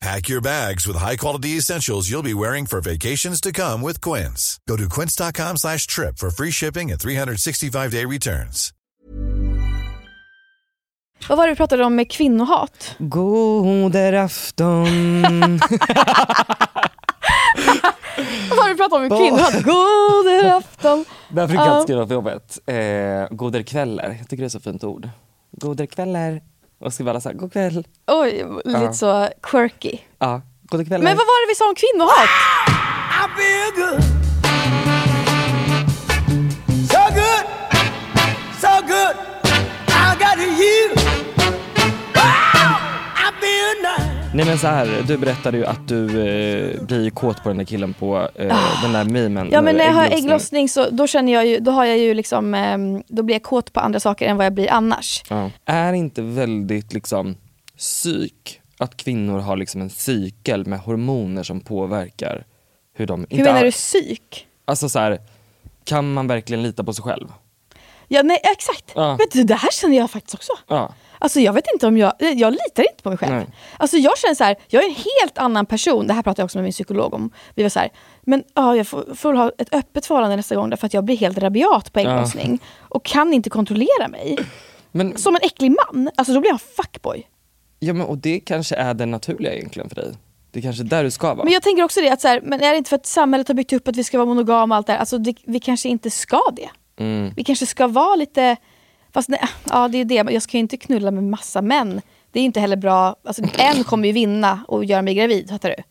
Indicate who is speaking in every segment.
Speaker 1: Pack your bags with high-quality essentials you'll be wearing for vacations to come with Quince. Go to quince.com slash trip for free shipping and 365-day returns.
Speaker 2: Vad var det vi pratade om med kvinnohat?
Speaker 3: Goder afton.
Speaker 2: Vad var det vi pratade om med kvinnohat? God afton.
Speaker 4: Därför
Speaker 2: Ja.
Speaker 4: kan jag skriva på jobbet. Eh, goderkvällar. Jag tycker det är så fint ord. Goderkvällar. Och skriva alla så här, god kväll.
Speaker 2: Oj, lite
Speaker 4: Ja.
Speaker 2: så quirky.
Speaker 4: Ja, goderkvällar.
Speaker 2: Men vad var det vi sa om kvinnohat?
Speaker 5: So good, so good. I got you. Wow, I feel nice.
Speaker 4: Nej men så här, du berättade ju att du eh, blir kåt på den där killen på eh, den där memen.
Speaker 2: Ah. Ja men när jag har
Speaker 4: ägglossning.
Speaker 2: ägglossning så då känner jag ju, då har jag ju liksom, ehm, då blir jag kåt på andra saker än vad jag blir annars.
Speaker 4: Ja. Är det inte väldigt liksom psyk att kvinnor har liksom en cykel med hormoner som påverkar hur de...
Speaker 2: Hur menar du psyk?
Speaker 4: Alltså så här, kan man verkligen lita på sig själv?
Speaker 2: Ja nej exakt,
Speaker 4: Ja.
Speaker 2: vet du det här känner jag faktiskt också.
Speaker 4: Ja.
Speaker 2: Alltså jag vet inte om jag, eh, jag litar inte på mig själv.
Speaker 4: Nej.
Speaker 2: Alltså jag känner så här, jag är en helt annan person, det här pratade jag också med min psykolog om. Vi var så här, men ja, jag får, får ha ett öppet förhållande nästa gång därför att jag blir helt rabiat på ägglossning och kan inte kontrollera mig.
Speaker 4: Men,
Speaker 2: Som en äcklig man, alltså då blir jag en fuckboy.
Speaker 4: ja, men, och det kanske är det naturliga egentligen för dig. Det är kanske är där du ska vara.
Speaker 2: Men jag tänker också det, att så här, men är det inte för att samhället har byggt upp att vi ska vara monogama och allt det här? Alltså det, vi kanske inte ska det.
Speaker 4: Mm.
Speaker 2: Vi kanske ska vara lite, fast nej, ja det är det, men jag ska ju inte knulla med massa män. Det är inte heller bra, alltså en kommer ju vinna och göra mig gravid, fattar du?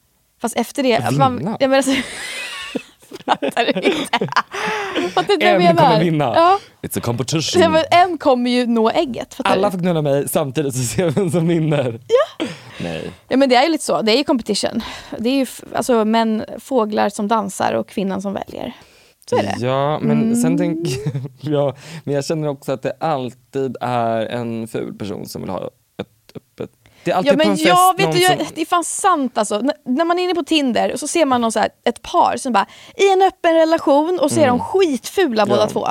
Speaker 2: Fast efter det,
Speaker 4: Vinna?
Speaker 2: jag menar så, alltså, fattar du inte? Fattar du inte vad jag
Speaker 4: En
Speaker 2: menar?
Speaker 4: kommer vinna.
Speaker 2: Ja,
Speaker 4: It's a
Speaker 2: så jag
Speaker 4: competition.
Speaker 2: menar, en kommer ju nå ägget, fattar
Speaker 4: Alla
Speaker 2: du?
Speaker 4: får knulla mig samtidigt så ser vi vem som vinner. Ja. Nej.
Speaker 2: Ja men det är ju lite så, det är ju competition. Det är ju f- alltså män, fåglar som dansar och kvinnan som väljer. Så är det. Mm.
Speaker 4: Ja, men sen tänk, ja, men jag känner också att det alltid är en ful person som vill ha ett öppet... Det är alltid
Speaker 2: Ja,
Speaker 4: på en
Speaker 2: men
Speaker 4: fest
Speaker 2: jag vet
Speaker 4: någon
Speaker 2: du, jag,
Speaker 4: som...
Speaker 2: det är fan sant alltså. N- när man är inne på Tinder och så ser man någon så här, ett par som bara, i en öppen relation och så
Speaker 4: Mm.
Speaker 2: är de skitfula båda två.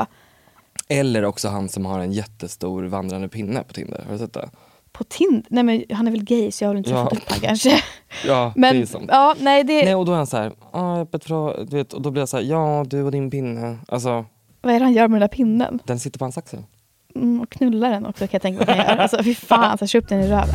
Speaker 4: Eller också han som har en jättestor vandrande pinne på Tinder. Har du sett det?
Speaker 2: På Tinder, nej men han är väl gay så jag har väl inte
Speaker 4: Ja.
Speaker 2: träffat upp honom kanske.
Speaker 4: Ja,
Speaker 2: Men,
Speaker 4: det är sant.
Speaker 2: ja, nej det,
Speaker 4: Nej, och då är han så här, ah, öppet för, du vet, och då blir jag så här, ja du och din pinne. Alltså,
Speaker 2: vad är det han gör med den där pinnen?
Speaker 4: den sitter på hans axel.
Speaker 2: Mm, och knullar den också kan jag tänka mig att han gör. Alltså fy fan, så kör upp den i röven.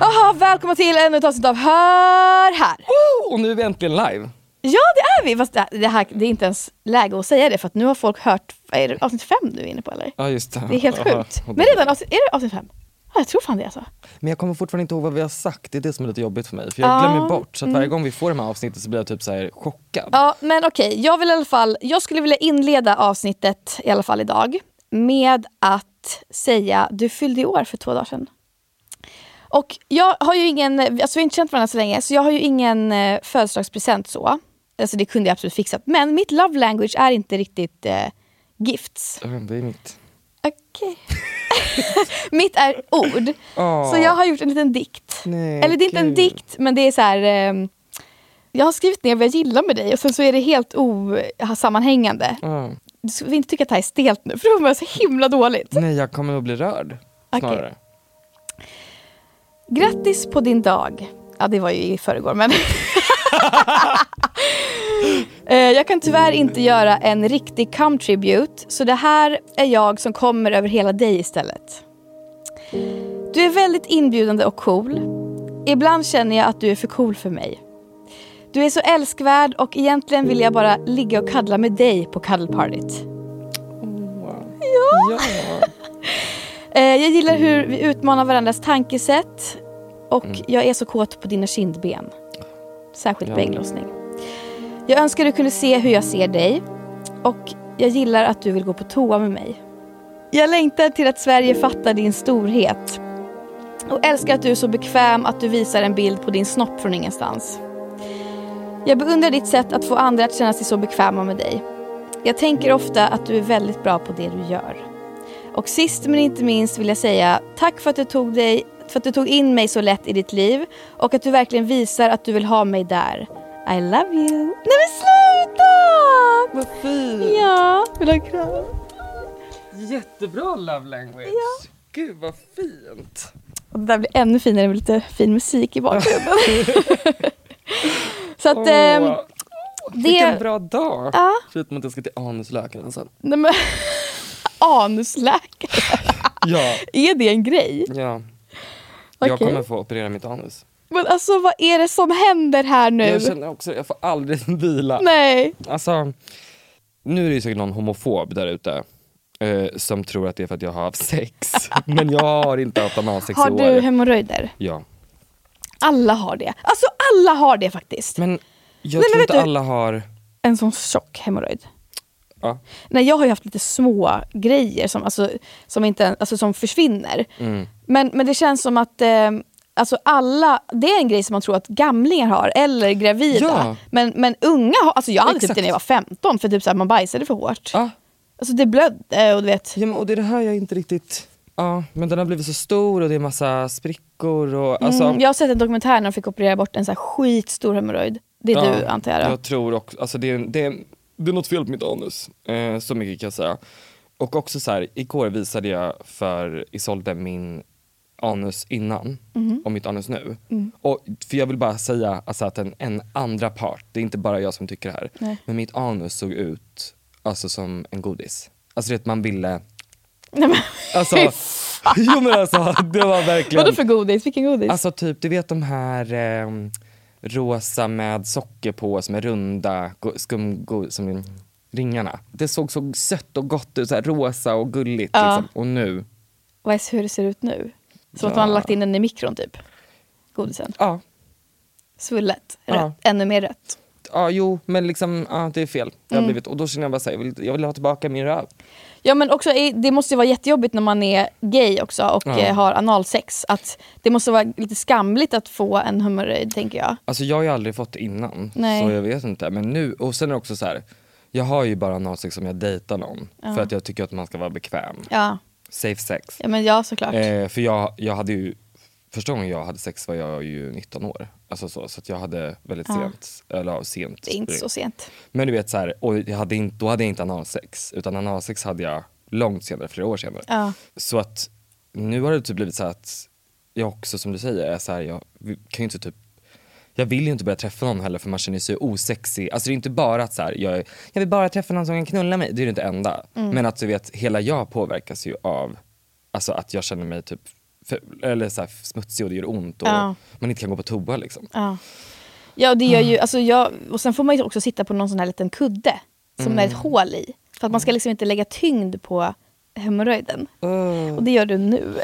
Speaker 2: Jaha, välkomna till ännu ett avsnitt av Hör här!
Speaker 4: Oh, och nu är vi äntligen live.
Speaker 2: Ja det är vi! Fast det, det, här, det är inte ens läge att säga det för att nu har folk hört, är det avsnitt fem du är inne på eller?
Speaker 4: Ja, just det.
Speaker 2: Det är helt sjukt. Men redan avsnitt, är det avsnitt fem? Ja, jag tror fan det alltså.
Speaker 4: Men jag kommer fortfarande inte ihåg vad vi har sagt, det är det som är lite jobbigt för mig. För jag
Speaker 2: Ah,
Speaker 4: glömmer bort, så att varje gång vi får de här avsnitten så blir jag typ så här chockad.
Speaker 2: Ja, men okej. Jag vill i alla fall, jag skulle vilja inleda avsnittet i alla fall idag med att säga du fyllde i år för två dagar sedan. Och jag har ju ingen, alltså vi har inte känt varandra så länge, så jag har ju ingen eh, födelsedagspresent så. Alltså det kunde jag absolut fixat. Men mitt love language är inte riktigt eh, gifts.
Speaker 4: Jag vet inte, Det är mitt.
Speaker 2: Okej. mitt är ord.
Speaker 4: Ah.
Speaker 2: Så jag har gjort en liten dikt.
Speaker 4: Nej,
Speaker 2: Eller det är inte en
Speaker 4: kul.
Speaker 2: dikt, men det är så här... ehm, jag har skrivit ner vad jag gillar med dig och sen så är det helt osammanhängande.
Speaker 4: Ja.
Speaker 2: du ska inte tycka att det här är stelt nu för du mår jag så himla dåligt.
Speaker 4: Nej, jag kommer att bli rörd. Snarare.
Speaker 2: Grattis på din dag. Ja, det var ju i förrgår, men... Eh, jag kan tyvärr inte göra en riktig come-tribute, så det här är jag som kommer över hela dig istället. Du är väldigt inbjudande och cool. Ibland känner jag att du är för cool för mig. Du är så älskvärd och egentligen vill jag bara ligga och kaddla med dig på cuddlepartyt.
Speaker 4: Ja.
Speaker 2: Eh, jag gillar hur vi utmanar varandras tankesätt och jag är så kåt på dina kindben. Särskilt på
Speaker 4: Ja.
Speaker 2: ägglossning. Jag önskar du kunde se hur jag ser dig och jag gillar att du vill gå på toa med mig. Jag längtar till att Sverige fattar din storhet och älskar att du är så bekväm att du visar en bild på din snopp från ingenstans. Jag beundrar ditt sätt att få andra att känna sig så bekväma med dig. Jag tänker ofta att du är väldigt bra på det du gör. Och sist men inte minst vill jag säga tack för att du tog, dig, för att du tog in mig så lätt i ditt liv och att du verkligen visar att du vill ha mig där. I love you. Nej men sluta!
Speaker 4: Vad fint.
Speaker 2: Ja, vill du ha en kram?
Speaker 4: Jättebra love language. Gud vad fint.
Speaker 2: Och det där blir ännu finare med lite fin musik i bakgrunden. så att... ehm,
Speaker 4: Åh,
Speaker 2: det,
Speaker 4: vilken bra dag.
Speaker 2: Ja.
Speaker 4: Förutom att jag ska till anusläkaren sen.
Speaker 2: nej, men, anusläkare,
Speaker 4: Ja.
Speaker 2: är det en grej?
Speaker 4: ja. Jag
Speaker 2: Okej.
Speaker 4: kommer få operera mitt anus.
Speaker 2: Men alltså vad är det som händer här nu?
Speaker 4: Jag känner också jag får aldrig vila.
Speaker 2: Nej.
Speaker 4: Alltså, nu är det ju säkert någon homofob där ute. Eh, som tror att det är för att jag har haft sex. Men jag har inte haft analsex
Speaker 2: Har
Speaker 4: i år.
Speaker 2: du hemorrojder?
Speaker 4: Ja.
Speaker 2: Alla har det. Alltså alla har det faktiskt.
Speaker 4: Men jag
Speaker 2: men
Speaker 4: tror
Speaker 2: vet
Speaker 4: inte
Speaker 2: du-
Speaker 4: alla har...
Speaker 2: En sån tjock hemorrojd.
Speaker 4: Ja.
Speaker 2: Nej, jag har ju haft lite små grejer som, alltså, som, inte, alltså, som försvinner.
Speaker 4: Mm.
Speaker 2: Men, men det känns som att eh, alltså alla, det är en grej som man tror att gamlingar har, eller gravida.
Speaker 4: Ja.
Speaker 2: Men, men unga har, alltså jag hade typ
Speaker 4: Exakt.
Speaker 2: det när jag var 15 för typ så här, man bajsade för hårt.
Speaker 4: Ah,
Speaker 2: Alltså det blödde och du vet.
Speaker 4: ja, men, och det är det här jag inte riktigt... Ja, men den har blivit så stor och det är massa sprickor och... Alltså,
Speaker 2: Mm, jag har sett en dokumentär när de fick operera bort en så här skitstor hemorrojd. Det är du antar jag då?
Speaker 4: Jag tror också, alltså det är, det, är, det är något fel på mitt anus. Eh, så mycket kan jag säga. Och också så här, igår visade jag för Isolde min anus innan
Speaker 2: Mhm.
Speaker 4: och mitt anus nu.
Speaker 2: Mm.
Speaker 4: Och, för jag vill bara säga alltså, att en, en andra part, det är inte bara jag som tycker det här,
Speaker 2: Nej.
Speaker 4: men mitt anus såg ut alltså, som en godis. Alltså det man ville,
Speaker 2: Nej, men,
Speaker 4: alltså, jo men alltså det var verkligen
Speaker 2: vadå för godis? Vilken godis?
Speaker 4: Alltså typ, du vet de här ehm, rosa med socker på som är runda, go- skum, go, som ringarna. Det såg så sött och gott ut, så här rosa och gulligt.
Speaker 2: Ja.
Speaker 4: Liksom. Och nu,
Speaker 2: Vad är, hur det ser ut nu? Som att man har lagt in den i mikron typ. Godisen.
Speaker 4: ja,
Speaker 2: Svullet.
Speaker 4: Ja.
Speaker 2: Rött. Ännu mer rött.
Speaker 4: ja jo men liksom, ja, det är fel. Det
Speaker 2: Mm.
Speaker 4: har blivit, och då känner jag bara så här, jag vill, jag vill ha tillbaka min röv.
Speaker 2: Ja men också, i- det måste ju vara jättejobbigt när man är gay också och
Speaker 4: Ja.
Speaker 2: eh, har analsex. Att det måste vara lite skamligt att få en hemorrojd tänker jag.
Speaker 4: Alltså jag har ju aldrig fått det innan,
Speaker 2: Nej.
Speaker 4: så jag vet inte. Men nu, och sen är det också så här, jag har ju bara analsex om jag dejtar någon. För att jag tycker att man ska vara bekväm.
Speaker 2: Ja,
Speaker 4: Safe sex.
Speaker 2: ja men ja såklart.
Speaker 4: Eh, för jag, jag hade ju, första gången jag hade sex var jag ju 19 år. Alltså så, så att jag hade väldigt sent, eller ja, sent.
Speaker 2: det är inte så sent.
Speaker 4: Men du vet så här, och jag hade inte, då hade jag inte analsex. Utan analsex hade jag långt senare, flera år senare.
Speaker 2: Ja.
Speaker 4: Så att nu har det typ blivit så här att jag också som du säger är så här, jag vi- kan ju inte typ jag vill ju inte börja träffa någon heller för man känner sig osexig. Alltså det är inte bara att så här, jag, är- jag vill bara träffa någon som kan knulla mig. Det är det inte enda.
Speaker 2: Mm.
Speaker 4: Men att du vet, hela jag påverkas ju av alltså att jag känner mig typ ful, eller så här, smutsig och det gör ont och
Speaker 2: Ja.
Speaker 4: man inte kan gå på toa liksom.
Speaker 2: Ja, ja det gör ju, alltså jag, och sen får man ju också sitta på någon sån här liten kudde som
Speaker 4: Mm.
Speaker 2: det är ett hål i. För att man ska liksom inte lägga tyngd på hemorrojden.
Speaker 4: Mm.
Speaker 2: Och det gör du nu.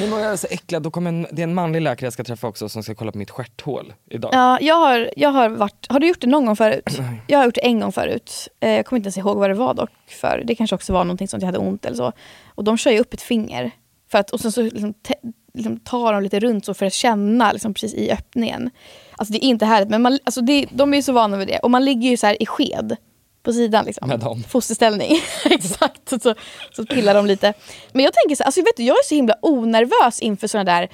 Speaker 4: Nu mår jag är så äcklad. Då kommer en, det är en manlig läkare jag ska träffa också som ska kolla på mitt stjärthål idag.
Speaker 2: Ja, jag har, jag har varit... Har du gjort det någon gång förut? Jag har gjort det en gång förut. Eh, jag kommer inte ens ihåg vad det var dock. För det kanske också var någonting som jag hade ont eller så. Och de kör ju upp ett finger. För att, och sen så liksom, te, liksom tar de lite runt så för att känna liksom, precis i öppningen. Alltså det är inte härligt, men man, alltså, det, de är ju så vana vid det. Och man ligger ju så här i sked. På sidan liksom.
Speaker 4: Med dem.
Speaker 2: Fosterställning. Exakt. Så, så pillar de lite. Men jag tänker så här, alltså, vet du, jag är så himla onervös inför sådana där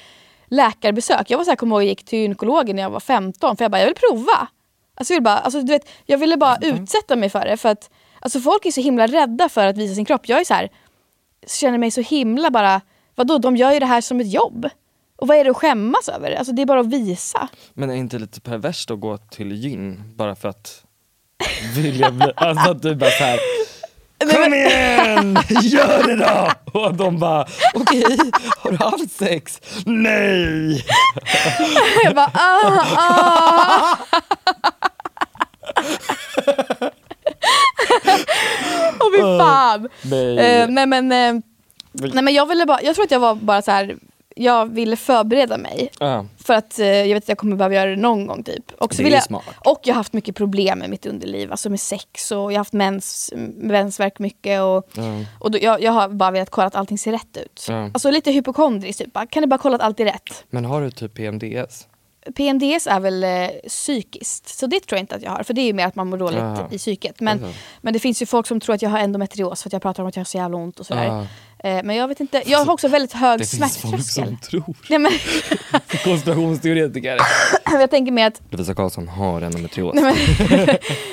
Speaker 2: läkarbesök. Jag var så här, kommer ihåg, jag gick till gynekologen när jag var
Speaker 4: Mm.
Speaker 2: 15 för jag bara, jag vill prova. Alltså, jag, vill bara, alltså, du vet, jag ville bara utsätta mig för det för att Alltså folk är så himla rädda för att visa sin kropp. Jag är så här, känner mig så himla bara, vadå de gör ju det här som ett jobb. Och vad är det att skämmas över? Alltså det är bara att visa.
Speaker 4: Men är inte lite perverst att gå till gyn bara för att vilja bli, alltså att du bara såhär Kom igen, gör det då! Och de bara okej, har du haft sex? Nej!
Speaker 2: Jag bara, ah, ah. Åh fy fan.
Speaker 4: Ah, Nej.
Speaker 2: Eh, nej, men, eh, nej men jag ville bara, jag tror att jag var bara så här. jag ville förbereda mig.
Speaker 4: Ja.
Speaker 2: För att eh, jag vet att jag kommer behöva göra det någon gång typ. Och,
Speaker 4: Det är
Speaker 2: vill
Speaker 4: ju
Speaker 2: jag,
Speaker 4: smart.
Speaker 2: och jag har haft mycket problem med mitt underliv, alltså med sex och jag har haft mens, mensvärk mycket. Och, och då, jag, jag har bara velat kolla att allting ser rätt ut.
Speaker 4: Ja.
Speaker 2: Alltså lite hypokondriskt typ, bara, kan du bara kolla att allt är rätt?
Speaker 4: Men har du typ PMDS?
Speaker 2: PMDS är väl eh, psykiskt, så det tror jag inte att jag har. För det är ju mer att man mår dåligt
Speaker 4: Aha.
Speaker 2: i psyket. Men,
Speaker 4: Okej.
Speaker 2: men det finns ju folk som tror att jag har endometrios för att jag pratar om att jag har så jävla ont och sådär.
Speaker 4: Ah.
Speaker 2: Eh, men jag vet inte, jag har också väldigt hög
Speaker 4: Det finns folk som
Speaker 2: smärttröskel.
Speaker 4: tror.
Speaker 2: Nej, men,
Speaker 4: Konspirationsteoretiker.
Speaker 2: jag tänker mig att,
Speaker 4: Lovisa Karlsson har endometrios.
Speaker 2: men,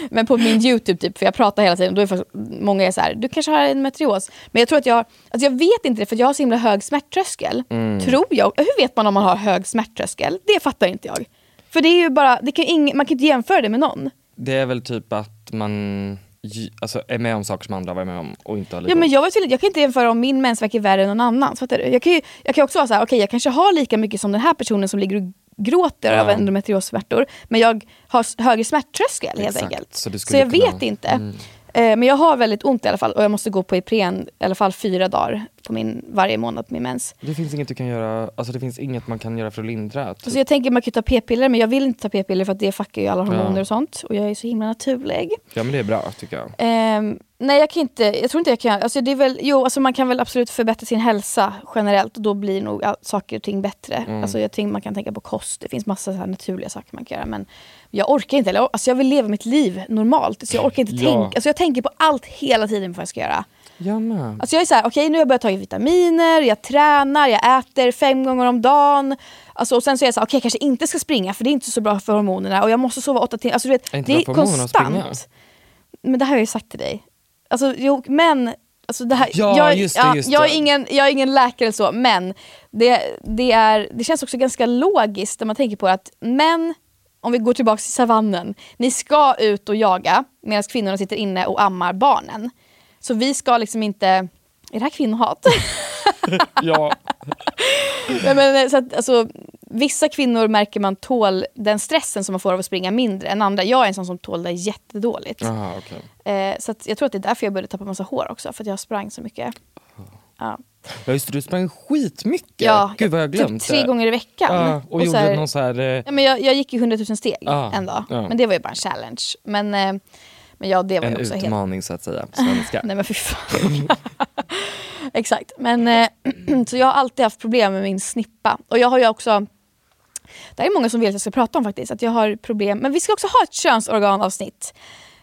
Speaker 2: men på min YouTube typ, för jag pratar hela tiden, då är folk, många är så här, du kanske har endometrios. Men jag tror att jag, alltså jag vet inte det för att jag har så himla hög smärttröskel.
Speaker 4: Mm.
Speaker 2: Tror jag. Hur vet man om man har hög smärttröskel? Det fattar inte jag. För det är ju bara, det kan ju ing, man kan ju inte jämföra det med någon.
Speaker 4: Det är väl typ att man ju- alltså, är med om saker som andra har varit med om och inte har lika
Speaker 2: Ja, men jag, vet, väl inte- jag kan inte jämföra om min mensvärk är värre än någon annans. Fattar du? Jag kan ju jag kan också vara så här, okej jag kanske har lika mycket som den här personen som ligger och gråter
Speaker 4: Ja.
Speaker 2: av endometriossmärtor. Men jag har s- högre smärttröskel helt
Speaker 4: Exakt.
Speaker 2: enkelt.
Speaker 4: Så du
Speaker 2: så
Speaker 4: skulle
Speaker 2: jag
Speaker 4: kunna- Mm.
Speaker 2: vet inte. Eh, Men jag har väldigt ont i alla fall och jag måste gå på Ipren i alla fall fyra dagar på min, varje månad på min mens.
Speaker 4: Det finns inget du kan göra, alltså det finns inget man kan göra för att lindra. Typ.
Speaker 2: Så jag tänker man kan ju ta p-piller men jag vill inte ta p-piller för att det fuckar ju alla hormoner
Speaker 4: Ja.
Speaker 2: och sånt. Och jag är så himla naturlig.
Speaker 4: Ja men det är bra tycker jag.
Speaker 2: Ehm, nej jag kan inte, jag tror inte jag kan, alltså det är väl, jo alltså man kan väl absolut förbättra sin hälsa generellt och då blir nog all- saker och ting bättre.
Speaker 4: Mm.
Speaker 2: Alltså jag tänker man kan tänka på kost, det finns massa så här naturliga saker man kan göra men jag orkar inte, eller, alltså jag vill leva mitt liv normalt så jag orkar inte
Speaker 4: Ja.
Speaker 2: tänka, alltså jag tänker på allt hela tiden vad jag ska göra.
Speaker 4: Ja men.
Speaker 2: Alltså jag är så här, okej nu har jag börjat ta vitaminer, jag tränar, jag äter fem gånger om dagen. Alltså, och sen så är jag så här, okej jag kanske inte ska springa för det är inte så bra för hormonerna och jag måste sova åtta timmar. Alltså, du vet,
Speaker 4: Är inte
Speaker 2: det
Speaker 4: bra
Speaker 2: är
Speaker 4: för hormonerna att springa?
Speaker 2: konstant. Men det här har jag ju sagt till dig. Alltså jo, men, alltså det här,
Speaker 4: Ja,
Speaker 2: jag,
Speaker 4: just det,
Speaker 2: ja,
Speaker 4: just
Speaker 2: jag,
Speaker 4: det.
Speaker 2: är ingen, jag är ingen läkare eller så men det, det, är, det känns också ganska logiskt när man tänker på att män, om vi går tillbaka till savannen, ni ska ut och jaga medan kvinnorna sitter inne och ammar barnen. Så vi ska liksom inte, är det här kvinnohat?
Speaker 4: Ja.
Speaker 2: Nej, men, eh, så att, alltså, vissa kvinnor märker man tål den stressen som man får av att springa mindre än andra. Jag är en sån som tål det jättedåligt.
Speaker 4: Jaha okej.
Speaker 2: Eh, så att jag tror att det är därför jag började tappa massa hår också, för att jag sprang så mycket. Ja,
Speaker 4: Ja just det, du sprang skitmycket.
Speaker 2: ja
Speaker 4: Gud vad jag glömde.
Speaker 2: typ tre gånger i veckan.
Speaker 4: Ja, och,
Speaker 2: så
Speaker 4: gjorde
Speaker 2: här-
Speaker 4: någon så här, eh,
Speaker 2: ja, men jag, jag gick ju 100 000 steg
Speaker 4: Ja,
Speaker 2: en dag,
Speaker 4: ja.
Speaker 2: men det var ju bara en challenge. Men, eh, men ja, det var
Speaker 4: en
Speaker 2: ju också helt...
Speaker 4: utmaning så att säga på svenska.
Speaker 2: Nej men fy fan. Exakt. Men, eh, så jag har alltid haft problem med min snippa. Och jag har ju också, det här är många som vill att jag ska prata om faktiskt, att jag har problem. Men vi ska också ha ett könsorganavsnitt,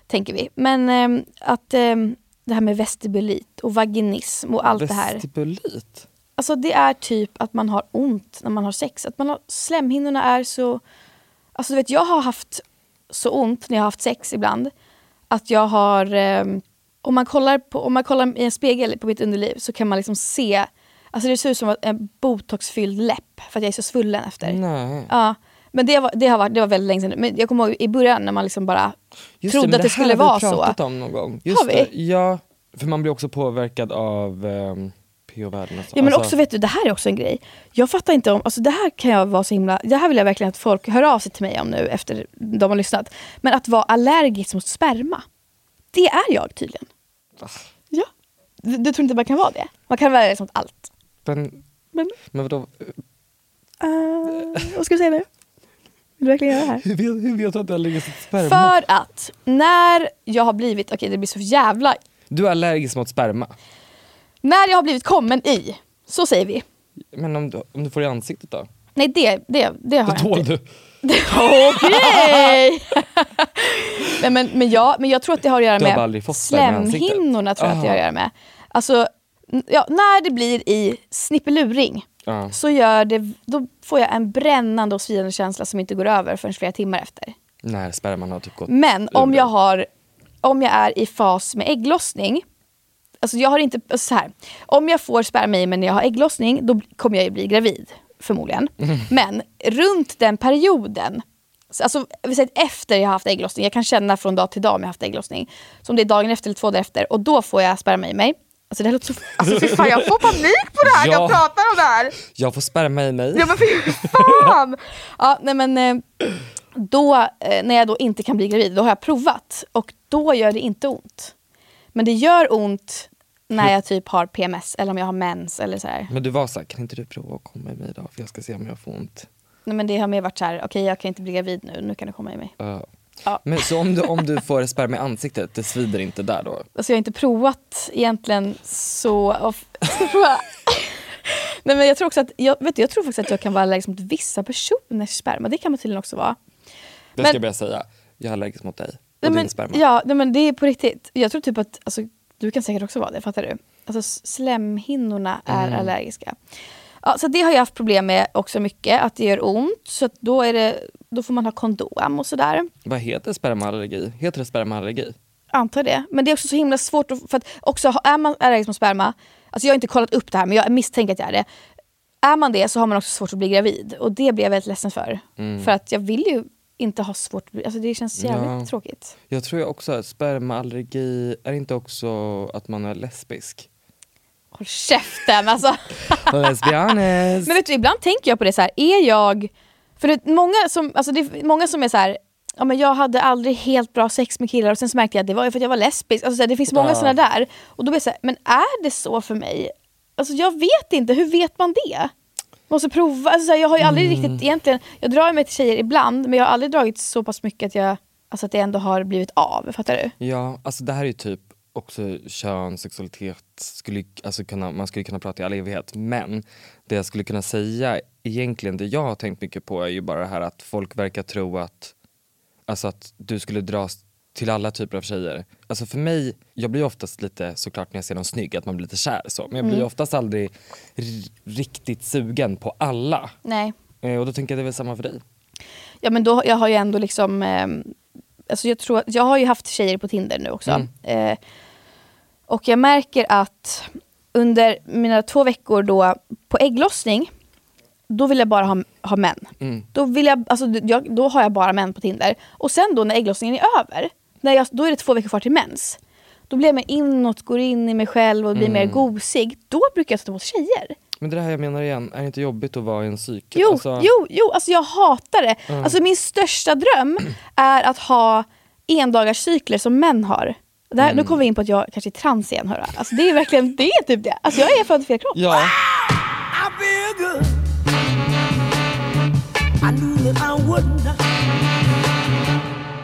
Speaker 2: tänker vi. Men eh, att eh, det här med vestibulit och vaginism och allt det här.
Speaker 4: Vestibulit?
Speaker 2: Alltså det är typ att man har ont när man har sex. Att man har, slemhinnorna är så... Alltså du vet jag har haft så ont när jag har haft sex ibland. Att jag har... ehm, om, man kollar på, om man kollar i en spegel på mitt underliv så kan man liksom se... Alltså det ser ut som en botoxfylld läpp för att jag är så svullen efter.
Speaker 4: Nej.
Speaker 2: Ja. Men det var, det, har varit, det var väldigt länge sedan. Men jag kommer ihåg i början när man liksom bara
Speaker 4: Just
Speaker 2: trodde
Speaker 4: men
Speaker 2: att det
Speaker 4: här
Speaker 2: skulle
Speaker 4: har
Speaker 2: vara
Speaker 4: vi
Speaker 2: så.
Speaker 4: pratat om någon gång. Just
Speaker 2: Har vi?
Speaker 4: Det, ja, för man blir också påverkad av um, PH-värden och så.
Speaker 2: Ja men
Speaker 4: Alltså,
Speaker 2: också vet du, det här är också en grej. Jag fattar inte om, alltså det här kan jag vara så himla, det här vill jag verkligen att folk hör av sig till mig om nu efter de har lyssnat. Men att vara allergisk mot sperma, det är jag tydligen. Ja. Du, du tror inte man kan vara det? Man kan vara allergisk mot allt.
Speaker 4: Men,
Speaker 2: Men,
Speaker 4: men vadå,
Speaker 2: eh, vad ska du säga nu? Vill du verkligen göra det här?
Speaker 4: hur vet, hur vet du att du är allergisk mot sperma?
Speaker 2: För att när jag har blivit, okej det blir så jävla,
Speaker 4: Du är allergisk mot sperma.
Speaker 2: när jag har blivit kommen i, så säger vi.
Speaker 4: Men om du, om du får i ansiktet då?
Speaker 2: Nej det, det, det har jag
Speaker 4: Då
Speaker 2: inte.
Speaker 4: tål du.
Speaker 2: Okej! Nej, men, men, jag, men jag tror att det har att göra
Speaker 4: Du har bara aldrig
Speaker 2: med
Speaker 4: fått sperma i ansiktet.
Speaker 2: slemhinnorna. Tror jag att det har att
Speaker 4: Ah.
Speaker 2: göra med. Alltså, n- ja, när det blir i snippeluring
Speaker 4: Ja.
Speaker 2: så gör det, då får jag en brännande och svidande känsla som inte går över förrän flera timmar efter.
Speaker 4: När sperman har typ gått
Speaker 2: Men om
Speaker 4: ur.
Speaker 2: jag har om jag är i fas med ägglossning, alltså jag har inte, alltså så här, om jag får sperma i mig när jag har ägglossning då kommer jag ju bli gravid förmodligen. Men runt den perioden, så- alltså vi säger att efter jag har haft ägglossning, jag kan känna från dag till dag om jag har haft ägglossning, som det är dagen efter eller två dagar efter och då får jag sperma i mig. Alltså det här låter så, alltså fy fan jag får panik på det här när jag
Speaker 4: Ja.
Speaker 2: pratar om det här.
Speaker 4: Jag får sperma i mig.
Speaker 2: Ja men fy fan! Ja, nej, men, eh, då, eh, när jag då inte kan bli gravid, då har jag provat. Och då gör det inte ont. Men det gör ont när jag typ har PMS eller om jag har mens eller så här.
Speaker 4: Men du var så här, kan inte du prova att komma i mig idag för jag ska se om jag får ont.
Speaker 2: Nej, men det har mer varit så här, okej jag kan inte bli gravid nu, nu kan det komma i mig.
Speaker 4: Ja.
Speaker 2: Ja.
Speaker 4: Men så om du, om du får sperma i ansiktet, det svider inte där då?
Speaker 2: Alltså jag har inte provat egentligen så... och f- ska jag prova? Nej men jag tror också att, jag, vet du, jag tror faktiskt att jag kan vara allergisk mot vissa personers sperma, det kan man tydligen också vara.
Speaker 4: Det
Speaker 2: Men-
Speaker 4: ska jag börja säga. Jag är allergisk mot dig och
Speaker 2: Nej,
Speaker 4: din
Speaker 2: men,
Speaker 4: sperma.
Speaker 2: Ja, nej, men det är på riktigt. Jag tror typ att, alltså, du kan säkert också vara det, fattar du? Alltså s- slemhinnorna är
Speaker 4: Mm.
Speaker 2: allergiska. Ja, så det har jag haft problem med också mycket, att det gör ont. Så att då, är det, då får man ha kondom och sådär.
Speaker 4: Vad heter spermaallergi? Heter det spermaallergi?
Speaker 2: Antar det. Men det är också så himla svårt, att, för att också ha- är man allergisk mot sperma, alltså jag har inte kollat upp det här men jag misstänker att jag är det. Är man det så har man också svårt att bli gravid och det blir jag väldigt ledsen för. För att jag vill ju inte ha svårt att bli, alltså det känns jävligt
Speaker 4: Mm. Ja.
Speaker 2: tråkigt.
Speaker 4: Jag tror jag också att spermaallergi är inte också att man är lesbisk.
Speaker 2: Håll käften alltså!
Speaker 4: Let's be honest.
Speaker 2: Men vet du, ibland tänker jag på det så här, är jag... För det, många, som, alltså det är många som är så här, ja, men jag hade aldrig helt bra sex med killar och sen så märkte jag att det var ju för att jag var lesbisk. Alltså, så här, det finns många
Speaker 4: Ja.
Speaker 2: sådana där. Och då blir jag så här, men är det så för mig? Alltså jag vet inte, hur vet man det? Måste prova. Alltså, så här, jag har ju aldrig riktigt egentligen, jag drar mig till tjejer ibland men jag har aldrig dragit så pass mycket att jag Alltså att det ändå har blivit av, fattar du?
Speaker 4: Ja, alltså det här är ju typ också kön, sexualitet, skulle, ju- alltså kunna, man skulle kunna prata i all evighet. Men det jag skulle kunna säga, egentligen det jag har tänkt mycket på är ju bara det här att folk verkar tro att, alltså att du skulle dras till alla typer av tjejer. Alltså för mig, jag blir oftast lite, såklart när jag ser någon snygg, att man blir lite kär så. Men jag blir
Speaker 2: Mm.
Speaker 4: oftast aldrig r- riktigt sugen på alla.
Speaker 2: Nej.
Speaker 4: Eh, och då tänker jag det är väl samma för dig.
Speaker 2: Ja men då, jag har ju ändå liksom, eh, alltså jag, tror, att- jag har ju haft tjejer på Tinder nu också. Eh, och jag märker att under mina två veckor då på ägglossning, då vill jag bara ha, ha män. Då, vill jag, alltså, jag, då har jag bara män på Tinder. Och sen då när ägglossningen är över, när jag, då är det två veckor kvar till mens. Då blir jag mer inåt, går in i mig själv och blir mer gosig. Då brukar jag ta emot tjejer.
Speaker 4: Men det är det här jag menar igen, är det inte jobbigt att vara i en psyke?
Speaker 2: Jo,
Speaker 4: Alltså- Mm.
Speaker 2: jo, jo alltså jag hatar det. Alltså min största dröm är att ha endagarscykler som män har. Där,
Speaker 4: Mm.
Speaker 2: Nu kommer vi in på att jag kanske är trans igen. Hörru. Alltså det är verkligen det är typ det. Alltså jag är född i fel kropp.
Speaker 4: Ja.
Speaker 5: I feel good. I knew that I wouldn't.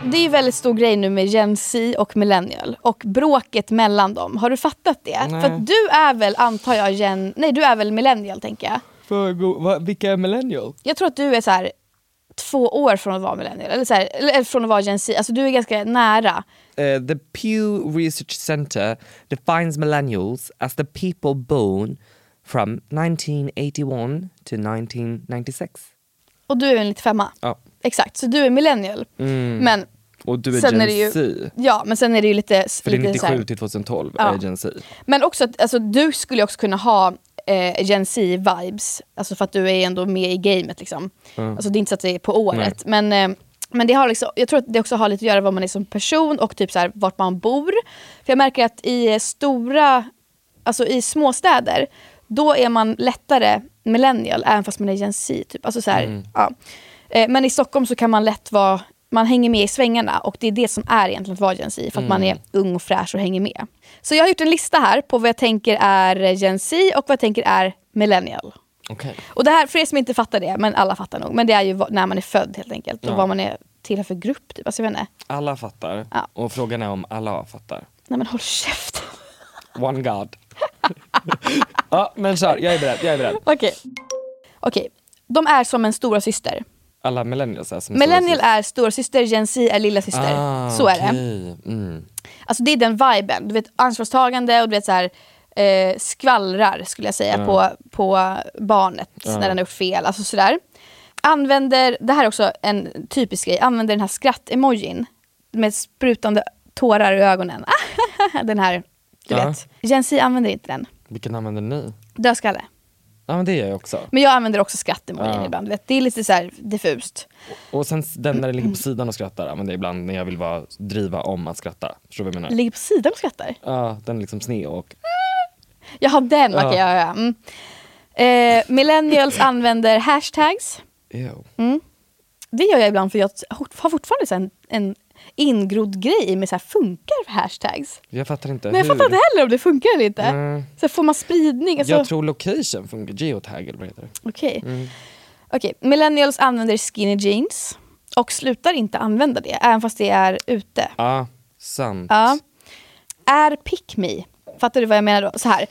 Speaker 2: Det är en väldigt stor grej nu med Gen Z och millennial och bråket mellan dem. Har du fattat det?
Speaker 4: Nej.
Speaker 2: För att du är väl antar jag gen... Nej du är väl millennial tänker jag.
Speaker 4: För go- va, vilka är millennial?
Speaker 2: Jag tror att du är så här två år från att vara millennial. Eller, så här, eller eller från att vara Gen Z. Alltså du är ganska nära.
Speaker 4: Eh, the Pew Research Center defines millennials as the people born from 1981 to 1996.
Speaker 2: Och du är en lite femma.
Speaker 4: Ja.
Speaker 2: Exakt, så du är millennial. Men,
Speaker 4: Och Mm. du är
Speaker 2: Sen
Speaker 4: Gen
Speaker 2: är det ju-
Speaker 4: Z.
Speaker 2: ja, men sen är det ju lite...
Speaker 4: För det är
Speaker 2: lite så
Speaker 4: 97
Speaker 2: här,
Speaker 4: till 2012
Speaker 2: Ja.
Speaker 4: är Gen Z.
Speaker 2: men också att alltså, du skulle ju också kunna ha eh, Gen Z-vibes. Alltså för att du är ändå med i gamet. Liksom. Alltså det är inte så att det är på året. Men, eh, men det har liksom, jag tror att det också har lite att göra med vad man är som person och typ så här, vart man bor. För jag märker att i eh, stora, alltså i småstäder, då är man lättare millennial även fast man är Gen Z. Typ. Alltså så här, ja. Eh, Men i Stockholm så kan man lätt vara, man hänger med i svängarna och det är det som är egentligen att vara Gen Z, för att man är ung och fräsch och hänger med. Så jag har gjort en lista här på vad jag tänker är Gen Z och vad jag tänker är millennial.
Speaker 4: Okej.
Speaker 2: Och det här, för er som inte fattar det, men alla fattar nog, men det är ju vad- när man är född helt enkelt och
Speaker 4: Ja.
Speaker 2: vad man är tillhör för grupp. Typ. Alltså, jag vet inte.
Speaker 4: Alla fattar.
Speaker 2: Ja.
Speaker 4: Och frågan är om alla fattar.
Speaker 2: Nej men håll käften.
Speaker 4: One God. ja, men kör. Jag är beredd. Jag är beredd.
Speaker 2: Okej. Okej, de är som en stora syster.
Speaker 4: Alla millennials är som
Speaker 2: Millennial är stora syster, Gen Z är lilla syster.
Speaker 4: Ah,
Speaker 2: så är det.
Speaker 4: okej. Mm.
Speaker 2: Alltså det är den viben. Du vet ansvarstagande och du vet så här eh, skvallrar skulle jag säga på, på barnet när den har gjort fel. Alltså sådär. Använder, det här är också en typisk grej, använder den här skratt-emojin med sprutande tårar i ögonen. den här, du
Speaker 4: Ja.
Speaker 2: vet. Gen Z använder inte den.
Speaker 4: Vilken använder ni?
Speaker 2: Dödskalle.
Speaker 4: Ja men det gör jag också.
Speaker 2: Men jag använder också skrattemojen
Speaker 4: Ja.
Speaker 2: ibland. du Vet, det är lite så här diffust.
Speaker 4: Och sen s- den där det ligger på sidan och skrattar använder jag ibland när jag vill vara, driva om att skratta. Förstår du vad jag menar?
Speaker 2: Ligger på sidan och skrattar.
Speaker 4: Ja, den är liksom sned och
Speaker 2: Jaha, den. Okej, ja. ja, ja. Mm. Eh, millennials använder hashtags.
Speaker 4: ew.
Speaker 2: Mm. Det gör jag ibland för jag fort- har fortfarande så här en, en ingrodd grej med så här funkar hashtags.
Speaker 4: Jag fattar inte
Speaker 2: Men jag
Speaker 4: hur.
Speaker 2: fattar inte heller om det funkar eller inte.
Speaker 4: Mm.
Speaker 2: Så får man spridning? Alltså,
Speaker 4: Jag tror Mm. location funkar, geotag eller vad heter det?
Speaker 2: Okej. Okej, Millennials använder skinny jeans och slutar inte använda det, även fast det är ute.
Speaker 4: Ja, sant.
Speaker 2: Ja. Är pick me. Fattar du vad jag menar då? Så här.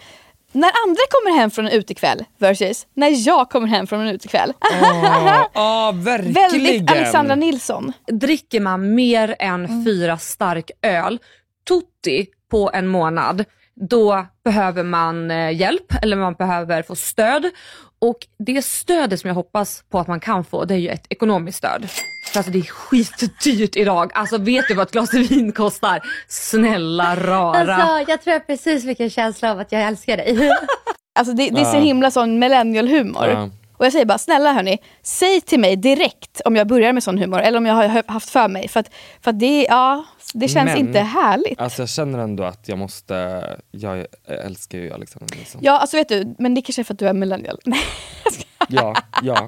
Speaker 2: När andra kommer hem från en utekväll versus när jag kommer hem från en utekväll.
Speaker 4: Ja, ja, verkligen.
Speaker 2: Väldigt Alexandra Nilsson.
Speaker 6: dricker man mer än fyra stark öl tutti på en månad då behöver man eh, hjälp eller man behöver få stöd. Och det stödet som jag hoppas på att man kan få det är ju ett ekonomiskt stöd. För alltså det är skitdyrt idag. Alltså vet du vad ett glas vin kostar? Snälla rara.
Speaker 7: Alltså, jag tror jag precis fick en känsla av att jag älskar dig.
Speaker 2: Alltså det, det är så
Speaker 4: Ja.
Speaker 2: himla sån millennial-humor.
Speaker 4: Ja.
Speaker 2: Och jag säger bara, snälla hörni, säg till mig direkt om jag börjar med sån humor eller om jag har hö- haft för mig. För att, för att det, ja, det känns
Speaker 4: Men-
Speaker 2: inte härligt.
Speaker 4: Alltså jag känner ändå att jag måste, jag älskar ju Alexandra Nilsson.
Speaker 2: Ja, alltså vet du, men det kanske är för att du är millennial. Nej, jag skojar.
Speaker 4: Ja, ja.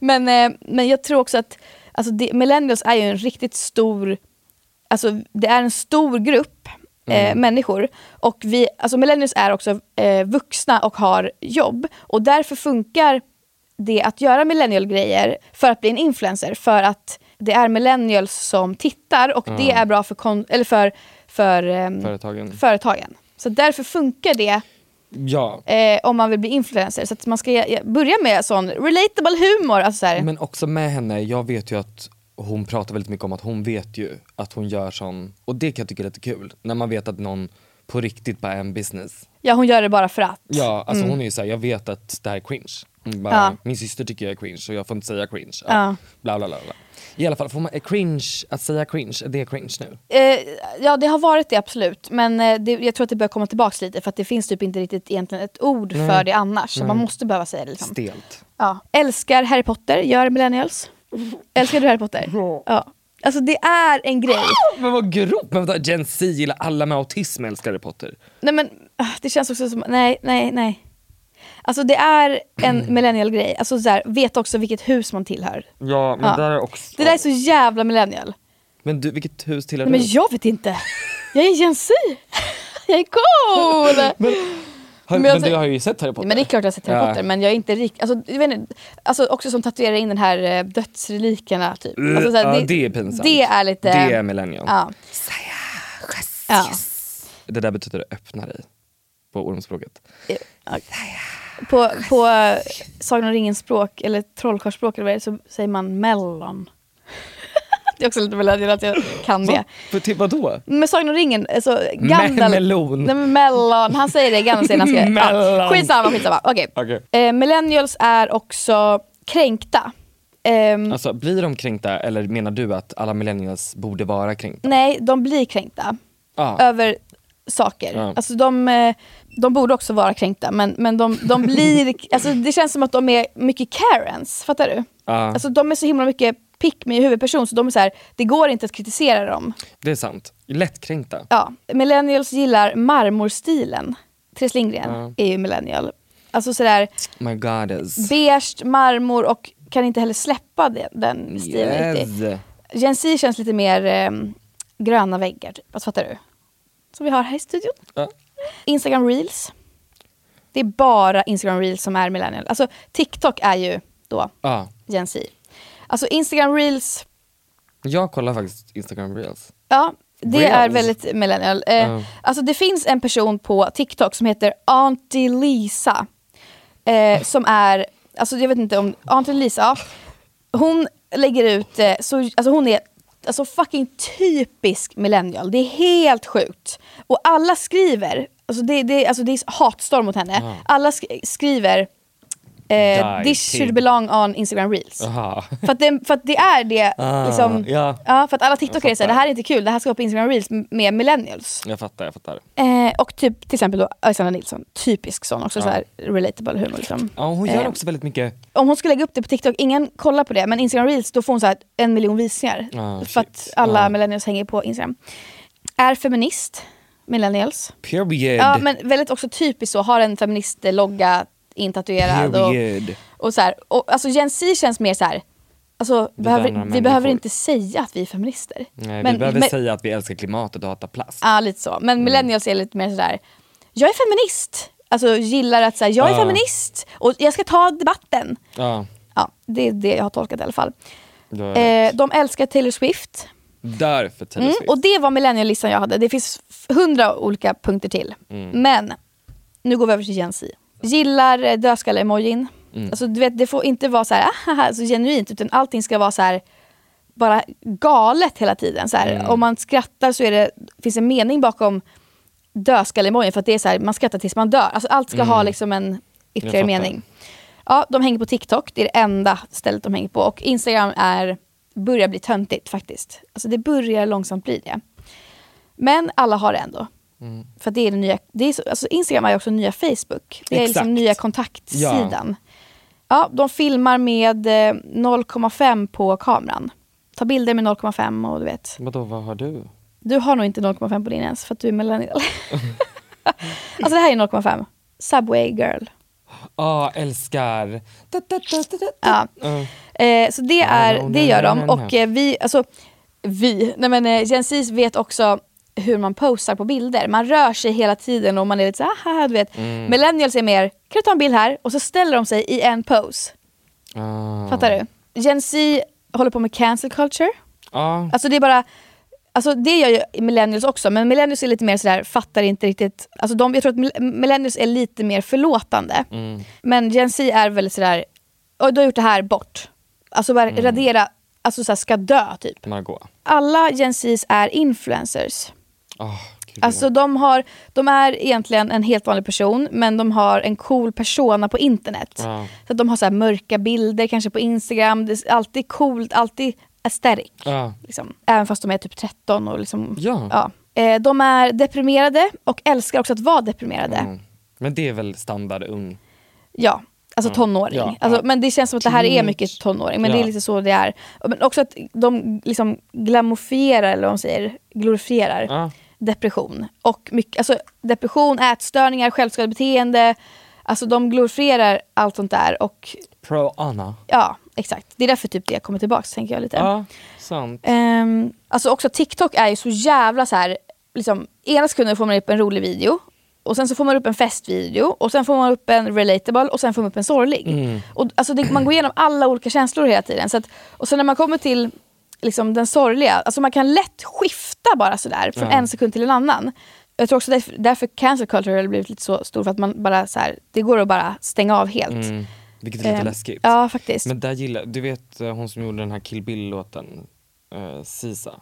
Speaker 2: men, eh, men jag tror också att alltså det, millennials är ju en riktigt stor, alltså det är en stor grupp eh, människor. Och vi, alltså millennials är också eh, vuxna och har jobb. Och därför funkar det att göra millennial-grejer för att bli en influencer. För att det är millennials som tittar och det är bra för, kon- eller för, för ehm,
Speaker 4: Företagen.
Speaker 2: företagen. Så därför funkar det
Speaker 4: Ja.
Speaker 2: eh, om man vill bli influencer. Så att man ska ge- börja med sån relatable humor. Alltså så här,
Speaker 4: Men också med henne, jag vet ju att hon pratar väldigt mycket om att hon vet ju att hon gör sån, och det kan jag tycka är lite kul, när man vet att någon på riktigt bara är en business.
Speaker 2: ja hon gör det bara för att.
Speaker 4: Ja, alltså hon är ju såhär, jag vet att det här är cringe. Hon bara,
Speaker 2: Mm. Ja.
Speaker 4: Min syster tycker jag är cringe och jag får inte säga cringe. Ja.
Speaker 2: Ja.
Speaker 4: Bla, bla, bla, bla. I alla fall, får man, är cringe, att säga cringe, är det cringe nu?
Speaker 2: Eh, ja det har varit det absolut. Men eh, det, jag tror att det börjar komma tillbaks lite för att det finns typ inte riktigt egentligen ett ord för det annars. Så man måste behöva säga det. Liksom.
Speaker 4: Stelt.
Speaker 2: Ja. Älskar Harry Potter, gör millennials. Älskar du Harry Potter? Ja. Alltså det är en grej.
Speaker 4: Men vad grovt! Men vänta, Gen Z gillar alla med autism älskar Harry Potter.
Speaker 2: Nej men ah, det känns också som, nej, nej, nej. Alltså det är en millennial grej. Alltså så här, vet också vilket hus man tillhör.
Speaker 4: Ja, men
Speaker 2: Ja.
Speaker 4: där är också...
Speaker 2: Det där är så jävla millennial.
Speaker 4: Men du, vilket hus tillhör
Speaker 2: Nej, men
Speaker 4: du?
Speaker 2: jag vet inte. Jag är Gen Z. Jag är cool!
Speaker 4: Men, har,
Speaker 2: men jag
Speaker 4: men du
Speaker 2: säger-
Speaker 4: har ju sett Harry Potter.
Speaker 2: Men det är klart jag har sett Harry
Speaker 4: Ja.
Speaker 2: Potter men jag är inte rik. Alltså, jag vet inte, alltså också som tatuerar in den här eh, dödsrelikerna typ. Alltså, så här,
Speaker 4: Mm, ja, det är pinsamt.
Speaker 2: Det är lite...
Speaker 4: Det är millennial.
Speaker 2: ja. Ja.
Speaker 4: Det där betyder öppna dig på ormspråket.
Speaker 2: På, på eh, Sagan om ringen språk eller trollkarlsspråk eller vad det är så säger man mellon. det är också lite millennial att jag kan det.
Speaker 4: För till vadå?
Speaker 2: Men Sagan om ringen, alltså
Speaker 4: Me-
Speaker 2: Gandalf...
Speaker 4: melon.
Speaker 2: Nej, men mellon. Han säger det, Gandalf säger det. Han ska,
Speaker 4: Mellon.
Speaker 2: ja, skitsamma, skitsamma. Okej.
Speaker 4: Okej.
Speaker 2: Eh, millennials är också kränkta. Ehm,
Speaker 4: Alltså blir de kränkta eller menar du att alla millennials borde vara kränkta?
Speaker 2: Nej, de blir kränkta
Speaker 4: Ja.
Speaker 2: över saker.
Speaker 4: Ja.
Speaker 2: Alltså de, eh, de borde också vara kränkta men, men de, de blir... alltså det känns som att de är mycket Karens, fattar du?
Speaker 4: Ja,
Speaker 2: Alltså de är så himla mycket pick me i huvudperson så de är så här, det går inte att kritisera dem.
Speaker 4: det är sant. Lättkränkta.
Speaker 2: Ja, millennials gillar marmorstilen. Therese Lindgren är ju millennial. Alltså sådär
Speaker 4: My goddess.
Speaker 2: beige, marmor och kan inte heller släppa det, den stilen riktigt.
Speaker 4: Yes.
Speaker 2: Gen Z känns lite mer ehm, gröna väggar, typ. alltså, fattar du? Som vi har här i studion.
Speaker 4: Ja.
Speaker 2: Instagram reels. Det är bara Instagram reels som är millennial. Alltså TikTok är ju då
Speaker 4: Ja.
Speaker 2: Gen Z. Alltså Instagram reels,
Speaker 4: Jag kollar faktiskt Instagram reels.
Speaker 2: ja det
Speaker 4: Reels?
Speaker 2: är väldigt millennial. Eh,
Speaker 4: Ja.
Speaker 2: Alltså det finns en person på TikTok som heter Auntie Lisa. Eh, som är, alltså jag vet inte om, Auntie Lisa, hon lägger ut, eh, så, alltså hon är alltså fucking typisk millennial. Det är helt sjukt. Och alla skriver, alltså det, det, alltså det är hatstorm mot henne. Alla sk- skriver eh,
Speaker 4: Die
Speaker 2: this should
Speaker 4: pig.
Speaker 2: belong on Instagram reels.
Speaker 4: Aha.
Speaker 2: För, att det, för att det är det,
Speaker 4: Ah,
Speaker 2: liksom,
Speaker 4: ja.
Speaker 2: för att alla tiktokare säger det här är inte kul, det här ska vara på Instagram reels med millennials.
Speaker 4: Jag fattar, jag fattar.
Speaker 2: Eh, och typ till exempel då Alexandra Nilsson, typisk sån också,
Speaker 4: Ja.
Speaker 2: så här relatable humor. Liksom.
Speaker 4: Ja, hon gör
Speaker 2: Eh,
Speaker 4: också väldigt mycket.
Speaker 2: Om hon skulle lägga upp det på TikTok, ingen kollar på det, men Instagram reels då får hon så här en miljon visningar.
Speaker 4: Ah,
Speaker 2: för att
Speaker 4: shit.
Speaker 2: alla
Speaker 4: Ah.
Speaker 2: millennials hänger på Instagram. Är feminist, millennials.
Speaker 4: Period.
Speaker 2: Ja men väldigt också typiskt så, har en feminist-logga intatuerad. Och,
Speaker 4: Period. Eh,
Speaker 2: och så här, och, alltså Gen Z känns mer så här, alltså,
Speaker 4: värnar
Speaker 2: behöver, vi
Speaker 4: människor.
Speaker 2: behöver inte säga att vi är feminister.
Speaker 4: Nej,
Speaker 2: men,
Speaker 4: vi behöver
Speaker 2: men,
Speaker 4: säga Mm. att vi älskar klimatet och hatar plast.
Speaker 2: Ja lite så, men millennials är lite mer sådär, jag är feminist. Alltså gillar att säga jag är
Speaker 4: Ja.
Speaker 2: feminist och jag ska ta debatten.
Speaker 4: Ja,
Speaker 2: Ja, det är det jag har tolkat i alla fall.
Speaker 4: då är det.
Speaker 2: Eh, de älskar Taylor Swift.
Speaker 4: Därför Taylor
Speaker 2: Mm,
Speaker 4: Swift.
Speaker 2: och det var millennialistan jag hade. Det finns f- hundra olika punkter till. Men nu går vi över till Gen Z. Gillar eh, dödskalle-emojin. Alltså, du vet, det får inte vara så här, "Ahaha", så genuint utan allting ska vara så här bara galet hela tiden. Så här.
Speaker 4: Mm.
Speaker 2: Om man skrattar så är det, finns en mening bakom dödskalle-emojin för att det är så här, man skrattar tills man dör. Alltså, allt ska ha liksom en ytterligare
Speaker 4: Mm. Jag fattar.
Speaker 2: mening. Ja, de hänger på TikTok, det är det enda stället de hänger på. Och Instagram är, börjar bli töntigt faktiskt. Alltså det börjar långsamt bli det. Men alla har det ändå.
Speaker 4: Mm.
Speaker 2: För att det är det nya, det är så, alltså Instagram är ju också nya Facebook. Det är
Speaker 4: Exakt.
Speaker 2: liksom nya kontaktsidan. Ja. de filmar med eh, 0,5 på kameran. Ta bilder med 0,5 och du vet.
Speaker 4: Vadå, vad har du?
Speaker 2: Du har nog inte 0,5 på din ens för att du är millennial. alltså det här är 0,5. Subway girl.
Speaker 4: Ja, älskar. Da, da, da, da, da.
Speaker 2: Ja.
Speaker 4: Ja.
Speaker 2: Eh, så det,
Speaker 4: Ja,
Speaker 2: är,
Speaker 4: hon
Speaker 2: det
Speaker 4: är
Speaker 2: gör
Speaker 4: den
Speaker 2: de.
Speaker 4: här.
Speaker 2: Och eh, vi, alltså, vi, nej men eh, Gen Z vet också hur man posar på bilder. Man rör sig hela tiden och man är lite så här, "Haha", du vet.
Speaker 4: Mm.
Speaker 2: Millennials är mer, kan du ta en bild här? Och så ställer de sig i en pose.
Speaker 4: Ah.
Speaker 2: Fattar du? Gen Z håller på med cancel culture.
Speaker 4: Ja,
Speaker 2: Alltså det är bara, alltså det gör ju millennials också, men millennials är lite mer sådär, fattar inte riktigt. Alltså de, jag tror att mil- millennials är lite mer förlåtande. Men Gen Z är väldigt sådär, oj du har gjort det här, bort. Alltså bara radera, alltså såhär, ska dö typ.
Speaker 4: Margot.
Speaker 2: Alla Gen Zs är influencers.
Speaker 4: Ah, gud, ja.
Speaker 2: Alltså de, har, de är egentligen en helt vanlig person men de har en cool persona på internet.
Speaker 4: Ja.
Speaker 2: Så att de har så här mörka bilder kanske på Instagram, det är alltid coolt, alltid aesthetic.
Speaker 4: Ja.
Speaker 2: Liksom. Även fast de är typ 13 och liksom,
Speaker 4: Ja.
Speaker 2: Eh, De är deprimerade och älskar också att vara deprimerade.
Speaker 4: Mm. Men det är väl standard ung.
Speaker 2: Ja, alltså tonåring.
Speaker 4: Mm. Ja,
Speaker 2: alltså,
Speaker 4: ja.
Speaker 2: Men det känns som att det här är mycket tonåring, men det är
Speaker 4: Ja.
Speaker 2: lite så det är. Men också att de liksom glamofierar, eller vad man säger, glorifierar
Speaker 4: Ja.
Speaker 2: depression. Och mycket, alltså, depression, ätstörningar, självskadebeteende. Alltså de glorifierar allt sånt där. Och
Speaker 4: Pro Anna.
Speaker 2: ja, exakt. Det är därför typ det kommer tillbaka, tänker jag lite.
Speaker 4: Ja, sant.
Speaker 2: Ehm, alltså också TikTok är ju så jävla så här, liksom, ena sekunden får man upp en rolig video och sen så får man upp en festvideo och sen får man upp en relatable och sen får man upp en sorglig.
Speaker 4: Mm.
Speaker 2: Och, alltså, det, man går igenom alla olika känslor hela tiden. Så att, och sen när man kommer till liksom, den sorgliga, alltså man kan lätt skifta bara sådär från en sekund till en annan. Jag tror också därför, därför cancel culture har blivit lite så stor för att man bara så här, det går att bara stänga av helt.
Speaker 4: Mm. Vilket är lite
Speaker 2: Ehm,
Speaker 4: läskigt.
Speaker 2: Ja faktiskt.
Speaker 4: Men där gillar, du vet eh, hon som gjorde den här Kill Bill-låten, eh, Sisa?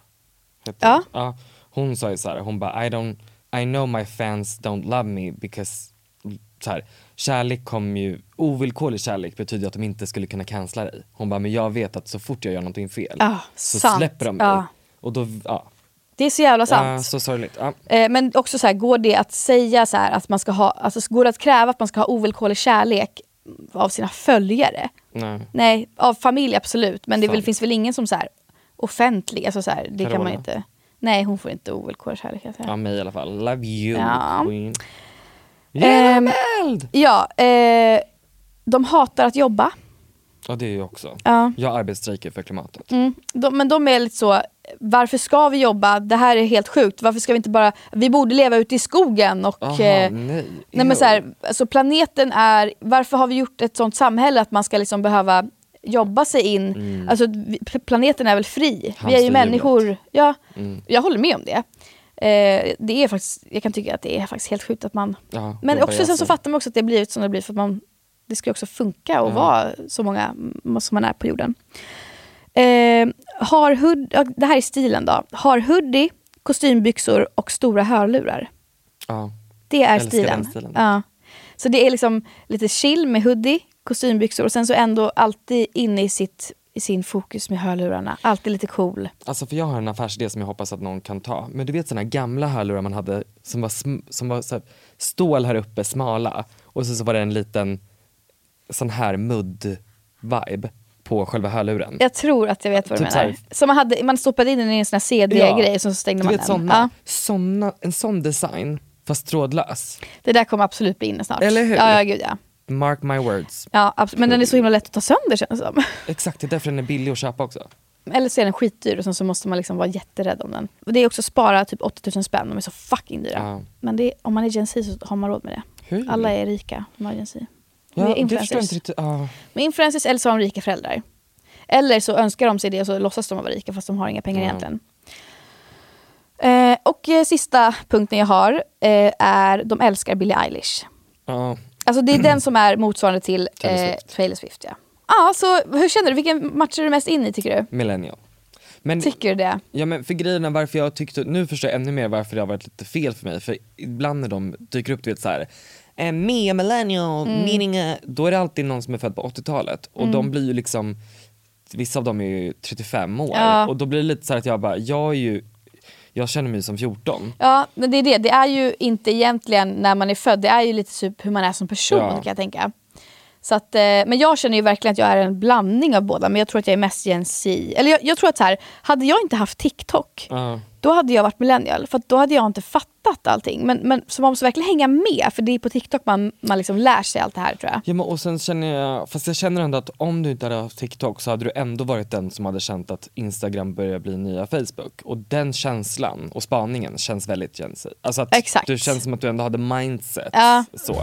Speaker 4: Heter
Speaker 2: Ja.
Speaker 4: hon. ja. Hon sa ju så här, hon bara I, don't, I know my fans don't love me because så här, kärlek kommer ju, ovillkorlig kärlek betyder att de inte skulle kunna cancella dig. Hon bara, men jag vet att så fort jag gör någonting fel
Speaker 2: Ja,
Speaker 4: så
Speaker 2: sant.
Speaker 4: släpper de mig.
Speaker 2: Ja.
Speaker 4: Och då, ja.
Speaker 2: det är så jävla sant.
Speaker 4: Ja, så sorgligt. Ja.
Speaker 2: Eh, men också så här, går det att säga så här att man ska ha, alltså går det att kräva att man ska ha ovillkorlig kärlek av sina följare?
Speaker 4: Nej.
Speaker 2: Nej, av familj absolut, men det är väl,
Speaker 4: Sant.
Speaker 2: finns väl ingen som så här offentlig, alltså så här, det kan man
Speaker 4: Carola.
Speaker 2: inte. Nej, hon får inte ovillkorlig kärlek. Alltså.
Speaker 4: Ja, mig i alla fall. Love you
Speaker 2: Ja.
Speaker 4: queen.
Speaker 2: Ehm,
Speaker 4: Eld!
Speaker 2: ja, eh, de hatar att jobba.
Speaker 4: Ja det är jag också.
Speaker 2: Ja.
Speaker 4: Jag arbetsstrejkar för klimatet.
Speaker 2: Mm. De, men de är lite så, varför ska vi jobba? Det här är helt sjukt. Varför ska vi inte bara, vi borde leva ute i skogen och
Speaker 4: Aha,
Speaker 2: eh,
Speaker 4: nej.
Speaker 2: Nej,
Speaker 4: Ew.
Speaker 2: men så här, alltså planeten är, varför har vi gjort ett sånt samhälle att man ska liksom behöva jobba sig in? Alltså, vi, pl- planeten är väl fri?
Speaker 4: Mm. Hamsterhjulet. Mm.
Speaker 2: vi är ju människor. Ja, Jag håller med om det. Eh, det är faktiskt, jag kan tycka att det är faktiskt helt sjukt att man...
Speaker 4: Ja,
Speaker 2: men
Speaker 4: jobbar
Speaker 2: också
Speaker 4: jag
Speaker 2: sen så
Speaker 4: sig.
Speaker 2: fattar man också att det har blivit som det har blivit för att man, det ska ju också funka och vara så många m- som man är på jorden. Eh, har hood, ja, det här är stilen då. Har hoodie, kostymbyxor och stora hörlurar.
Speaker 4: Ja.
Speaker 2: Det är
Speaker 4: Älskar
Speaker 2: stilen.
Speaker 4: den stilen.
Speaker 2: Ja. Så det är liksom lite chill med hoodie, kostymbyxor och sen så ändå alltid inne i, sitt, i sin fokus med hörlurarna. Alltid lite cool.
Speaker 4: Alltså för jag har en affärsidé som jag hoppas att någon kan ta. Men du vet såna här gamla hörlurar man hade som var, sm- som var så här, stål här uppe, smala och sen så var det en liten sån här mudd-vibe på själva hörluren.
Speaker 2: Jag tror att jag vet vad du
Speaker 4: Typ
Speaker 2: menar.
Speaker 4: så
Speaker 2: Som man, hade, man stoppade in den i en sån här CD-grej och så stängde
Speaker 4: du
Speaker 2: man
Speaker 4: vet
Speaker 2: den.
Speaker 4: såna,
Speaker 2: Ja,
Speaker 4: såna, en sån design fast trådlös.
Speaker 2: det där kommer absolut bli inne snart.
Speaker 4: Eller hur?
Speaker 2: Ja, ja, gud, ja.
Speaker 4: Mark my words.
Speaker 2: ja absolut. Men den är så himla lätt att ta sönder känns det som.
Speaker 4: Exakt, det är därför den är billig att köpa också.
Speaker 2: Eller så är den skitdyr och sen så måste man liksom vara jätterädd om den. Och det är också spara typ 8000 spänn, de är så fucking dyra.
Speaker 4: Ja.
Speaker 2: Men det är, om man är Gen Z så har man råd med det.
Speaker 4: Hur?
Speaker 2: Alla är rika om man är Gen Z. De
Speaker 4: Ja,
Speaker 2: är
Speaker 4: det förstår jag inte
Speaker 2: influencers.
Speaker 4: riktigt. Ja.
Speaker 2: De är influencers eller så har de rika föräldrar. Eller så önskar de sig det och så låtsas de vara rika fast de har inga pengar
Speaker 4: Ja.
Speaker 2: egentligen. Eh, och eh, sista punkten jag har eh, är de älskar Billie Eilish.
Speaker 4: Ja.
Speaker 2: Alltså det är den som är motsvarande till
Speaker 4: Taylor
Speaker 2: eh,
Speaker 4: Swift.
Speaker 2: Taylor Swift. Ja. Ja, så hur känner du? Vilken match är du mest in i tycker
Speaker 4: Mm.
Speaker 2: du?
Speaker 4: millennial. Men
Speaker 2: Tycker du det?
Speaker 4: Ja men för grejen är varför jag tyckte, nu förstår jag ännu mer varför det har varit lite fel för mig för ibland när de dyker upp du vet såhär eh, me a millennial,
Speaker 2: Mm.
Speaker 4: meaning a, då är det alltid någon som är född på 80-talet och de blir ju liksom, vissa av dem är ju 35 år
Speaker 2: Ja.
Speaker 4: och då blir det lite så här att jag bara, jag är ju, jag känner mig som 14.
Speaker 2: Ja, men det är det. Det är ju inte egentligen när man är född, det är ju lite typ hur man är som person
Speaker 4: Ja.
Speaker 2: kan jag tänka. Så att, eh, men jag känner ju verkligen att jag är en blandning av båda, men jag tror att jag är mest Gen Z. Eller jag, jag tror att så här, hade jag inte haft TikTok,
Speaker 4: Ja.
Speaker 2: då hade jag varit millennial. För att då hade jag inte fattat allting. Men, men så man måste verkligen hänga med, för det är på TikTok man, man liksom lär sig allt det här tror jag.
Speaker 4: Ja, men och sen känner jag, fast jag känner ändå att om du inte hade haft TikTok så hade du ändå varit den som hade känt att Instagram börjar bli nya Facebook. Och den känslan och spaningen känns väldigt Gen Z. Alltså att
Speaker 2: Exakt.
Speaker 4: du känns som att du ändå hade mindset.
Speaker 2: Ja.
Speaker 4: Så.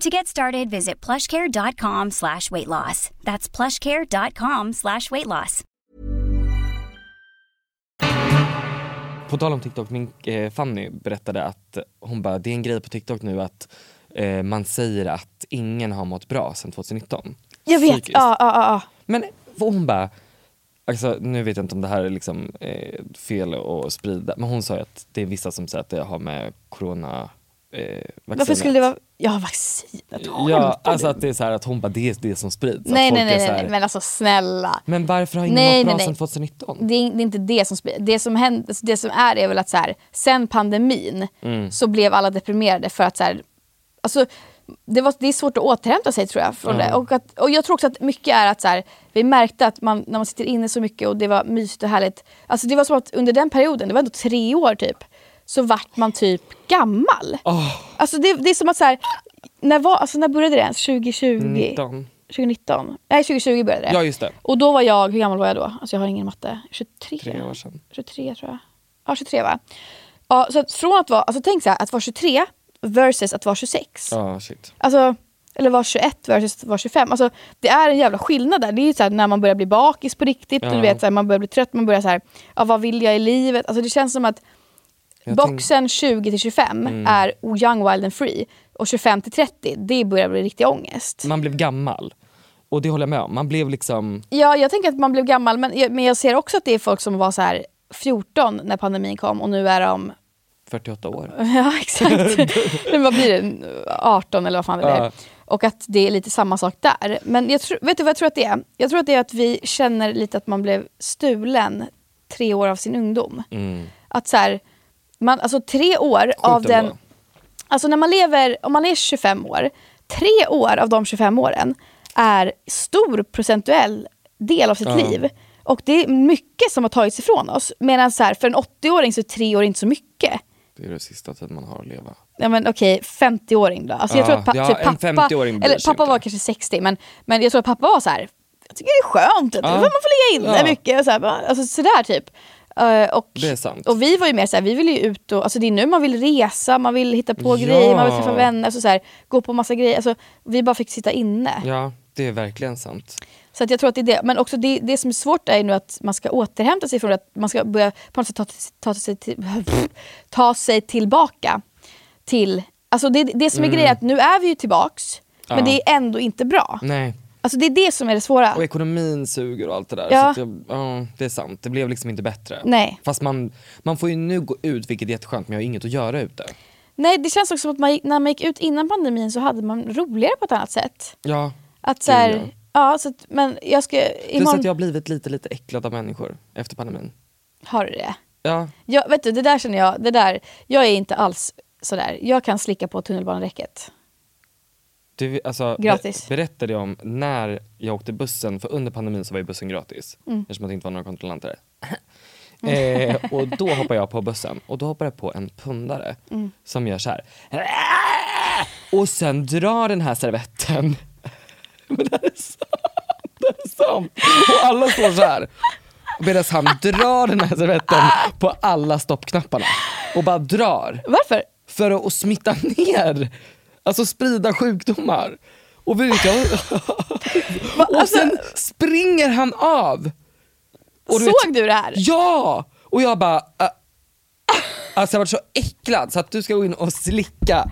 Speaker 8: To get started, visit plushcare.com slash weight loss. That's plushcare.com slash weight loss.
Speaker 4: På tal om TikTok, min eh, Fanny berättade att hon bara, det är en grej på TikTok nu att eh, man säger att ingen har mått bra sedan 2019.
Speaker 2: Jag vet,
Speaker 4: Psykiskt.
Speaker 2: ja, ja, ja.
Speaker 4: Men och hon bara, alltså, nu vet jag inte om det här är liksom, eh, fel att sprida, men hon sa ju att det är vissa som säger att det har med corona eh,
Speaker 2: Varför skulle det vara... Ja, vaccinet. Har
Speaker 4: Ja,
Speaker 2: hämtat
Speaker 4: alltså
Speaker 2: det.
Speaker 4: att det är så här att hon bara, det är det som sprids. Att
Speaker 2: nej,
Speaker 4: folk
Speaker 2: nej,
Speaker 4: är
Speaker 2: nej,
Speaker 4: så
Speaker 2: nej,
Speaker 4: här,
Speaker 2: nej, men alltså snälla.
Speaker 4: Men varför har ingen
Speaker 2: Nej,
Speaker 4: mått bra
Speaker 2: nej, nej.
Speaker 4: sedan 2019?
Speaker 2: det är, det är inte det som sprider. Det som, händer, alltså det som är är väl att så här, sen pandemin så blev alla deprimerade för att så här, alltså, det, var, det är svårt att återhämta sig tror jag. Från det. Och, att, och jag tror också att mycket är att så här, vi märkte att man, när man sitter inne så mycket och det var mysigt och härligt. Alltså det var som att under den perioden, det var ändå tre år typ, så vart man typ gammal. Alltså det, det är som att så här, när, var, alltså, när började det ens? 2020?
Speaker 4: 19.
Speaker 2: 2019? Nej 2020 började det.
Speaker 4: Ja just det,
Speaker 2: Och då var jag, hur gammal var jag då? Alltså jag har ingen matte. 23?
Speaker 4: tre år sedan.
Speaker 2: 23 tror jag. Ja 23 va? Ja, så att från att vara, alltså tänk så här, att vara 23 versus att vara 26.
Speaker 4: Ja shit.
Speaker 2: Alltså, eller vara 21 versus att vara 25. Alltså, det är en jävla skillnad där. Det är ju så här, när man börjar bli bakis på riktigt.
Speaker 4: Ja.
Speaker 2: Du vet, så här, man börjar bli trött, man börjar så här, ja, vad vill jag i livet? Alltså, det känns som att
Speaker 4: Jag Mm.
Speaker 2: boxen 20 till 25 är young, wild and free. Och 25 till 30, det börjar bli riktig ångest.
Speaker 4: Man blev gammal. Och det håller jag med om. Man blev liksom...
Speaker 2: Ja, jag tänker att man blev gammal, men jag, men jag ser också att det är folk som var så här 14 när pandemin kom och nu är de...
Speaker 4: 48 år.
Speaker 2: Ja, exakt. Men vad blir det? 18 eller vad fan det blir.
Speaker 4: Ja.
Speaker 2: Och att det är lite samma sak där. Men jag tror, vet du vad jag tror att det är? Jag tror att det är att vi känner lite att man blev stulen tre år av sin ungdom.
Speaker 4: Mm.
Speaker 2: Att så här, man, alltså tre år av
Speaker 4: ändå.
Speaker 2: den... Alltså när man lever, om man är 25 år, tre år av de 25 åren är stor procentuell del av sitt
Speaker 4: Ja.
Speaker 2: liv. Och det är mycket som har tagits ifrån oss. Medan så här, för en 80-åring så är tre år inte så mycket.
Speaker 4: Det är det sista tiden man har att leva.
Speaker 2: Ja men okej, 50-åring då. Alltså, jag
Speaker 4: Ja,
Speaker 2: tror att pa-
Speaker 4: ja,
Speaker 2: typ
Speaker 4: en
Speaker 2: pappa,
Speaker 4: 50-åring bryr
Speaker 2: eller
Speaker 4: sig
Speaker 2: pappa var kanske 60, men, men jag tror att pappa var så här. jag tycker det är skönt, att
Speaker 4: Ja.
Speaker 2: man får ligga inne
Speaker 4: Ja.
Speaker 2: mycket. Och så här, bara, alltså, sådär typ. Eh, och,
Speaker 4: Det är sant.
Speaker 2: och vi var ju mer såhär, vi ville ju ut och, alltså det är nu man vill resa, man vill hitta på
Speaker 4: Ja.
Speaker 2: grejer, man vill träffa vänner, alltså så här, gå på massa grejer. Alltså, vi bara fick sitta inne.
Speaker 4: Ja, det är verkligen sant.
Speaker 2: Så att jag tror att det är det. Men också det, det som är svårt är ju nu att man ska återhämta sig från det, att man ska börja på något sätt ta, till- ta, till sig, till, ta sig tillbaka till... Alltså det, det som är
Speaker 4: Mm.
Speaker 2: grejen är att nu är vi ju tillbaks,
Speaker 4: Ja. Mm.
Speaker 2: men det är ändå inte bra.
Speaker 4: Nej.
Speaker 2: Alltså det är det som är det svåra.
Speaker 4: Och ekonomin suger och allt det där.
Speaker 2: Ja.
Speaker 4: Så att jag, ja, det är sant. Det blev liksom inte bättre.
Speaker 2: Nej.
Speaker 4: Fast man, man får ju nu gå ut, vilket är jätteskönt, men jag har inget att göra ute.
Speaker 2: Nej, det känns också som att man, gick- när man gick ut innan pandemin så hade man roligare på ett annat sätt.
Speaker 4: Ja.
Speaker 2: Att så här,
Speaker 4: Gud,
Speaker 2: ja, så att, men jag ska...
Speaker 4: Plus
Speaker 2: Imorgon
Speaker 4: att jag har blivit lite, lite äcklad av människor efter pandemin.
Speaker 2: har du det.
Speaker 4: Ja,
Speaker 2: Jag, vet du, det där känner jag, det där, jag är inte alls sådär. Jag kan slicka på tunnelbaneräcket.
Speaker 4: du, alltså,
Speaker 2: Gratis.
Speaker 4: Be- berättade jag om när jag åkte bussen, för under pandemin så var ju bussen gratis.
Speaker 2: Mm.
Speaker 4: Eftersom att det inte var några kontrollanter. eh, och då hoppar jag på bussen och då hoppar jag på en pundare
Speaker 2: Mm.
Speaker 4: som gör så här. Och sen drar den här servetten. Men det här är sant. Det här är sant. Och alla står så här. Medan han drar den här servetten på alla stoppknapparna. Och bara drar.
Speaker 2: Varför?
Speaker 4: För att, att smitta ner. Alltså sprida sjukdomar. Och, vi kan... och
Speaker 2: alltså-
Speaker 4: sen springer han av. Och
Speaker 2: Såg du det här?
Speaker 4: Ja! Och jag bara... ah, ah. Alltså jag varit så äcklad så att du ska gå in och slicka.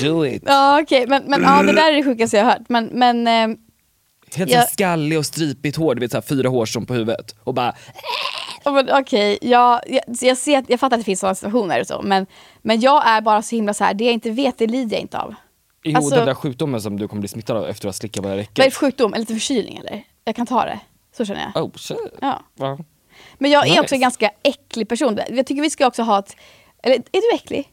Speaker 4: Do it.
Speaker 2: Ja okej, men, men ja, det där är det sjukaste jag har hört. Men, men eh,
Speaker 4: Helt
Speaker 2: Ja.
Speaker 4: så skallig och stripigt hår, du vet så här, fyra hårstrån på huvudet. Och bara,
Speaker 2: ja, men okej, ja, jag, jag, ser, att- jag fattar att det finns sådana situationer och så. Men, men jag är bara så himla så här, det jag inte vet det lider jag inte av.
Speaker 4: jo
Speaker 2: Alltså-
Speaker 4: den där sjukdomen som du kommer bli smittad av efter att ha slickat bara
Speaker 2: Vad är det
Speaker 4: räcket.
Speaker 2: för sjukdom? En liten förkylning eller? Jag kan ta det. Så känner jag.
Speaker 4: Oh shit.
Speaker 2: Ja.
Speaker 4: Ja.
Speaker 2: Men jag är
Speaker 4: Nice.
Speaker 2: också en ganska äcklig person. Jag tycker vi ska också ha ett... Eller är du äcklig?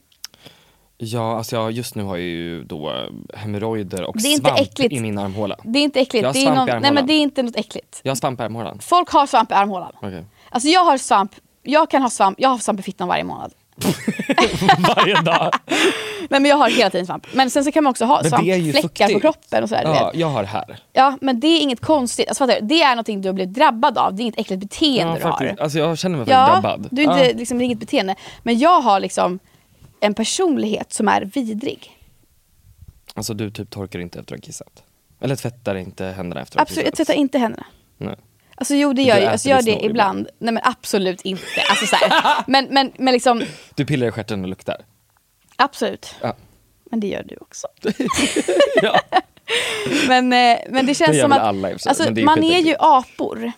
Speaker 4: Ja, alltså jag, just nu har jag ju då eh, hemorrojder och
Speaker 2: Det är inte
Speaker 4: svamp
Speaker 2: äckligt.
Speaker 4: i min armhåla.
Speaker 2: Det är inte äckligt.
Speaker 4: Jag har
Speaker 2: det, är
Speaker 4: svamp i
Speaker 2: någon, nej, men
Speaker 4: armhålan.
Speaker 2: det är inte något äckligt.
Speaker 4: Jag har svamp i armhålan.
Speaker 2: Folk har svamp i armhålan.
Speaker 4: Okej.
Speaker 2: Alltså jag har svamp, jag kan ha svamp, jag har svamp i fittan varje månad.
Speaker 4: Varje dag.
Speaker 2: Nej men jag har hela tiden svamp. Men sen så kan man också ha
Speaker 4: Men det är ju
Speaker 2: svampfläckar på
Speaker 4: fuktigt.
Speaker 2: kroppen och sådär. du
Speaker 4: Ja,
Speaker 2: vet.
Speaker 4: jag har här.
Speaker 2: Ja, men det är inget konstigt. Alltså, fattar du? Det är någonting du har blivit drabbad av. Det är inget äckligt beteende
Speaker 4: Ja,
Speaker 2: du har.
Speaker 4: faktiskt, alltså jag känner mig faktiskt
Speaker 2: ja,
Speaker 4: drabbad.
Speaker 2: Du är inte,
Speaker 4: Ja.
Speaker 2: liksom, det är inget beteende. Men jag har liksom en personlighet som är vidrig.
Speaker 4: Alltså du typ torkar inte efter att ha kissat. Eller tvättar inte händerna efter att ha
Speaker 2: Absolut, jag
Speaker 4: kissat.
Speaker 2: tvättar inte händerna.
Speaker 4: Nej.
Speaker 2: Alltså jo det gör
Speaker 4: Du
Speaker 2: jag.
Speaker 4: äter
Speaker 2: Alltså, jag gör
Speaker 4: ditt
Speaker 2: det
Speaker 4: snor
Speaker 2: ibland.
Speaker 4: ibland.
Speaker 2: Nej men absolut inte. Alltså, så här. Men, men, men liksom,
Speaker 4: Du pillar i stjärten och luktar.
Speaker 2: absolut.
Speaker 4: Ja.
Speaker 2: Men det gör du också.
Speaker 4: Ja.
Speaker 2: Men, eh, men det känns
Speaker 4: gör
Speaker 2: som
Speaker 4: väl
Speaker 2: att
Speaker 4: alla i och för sig,
Speaker 2: alltså,
Speaker 4: men det är ju
Speaker 2: man är ju
Speaker 4: skitäckligt.
Speaker 2: apor.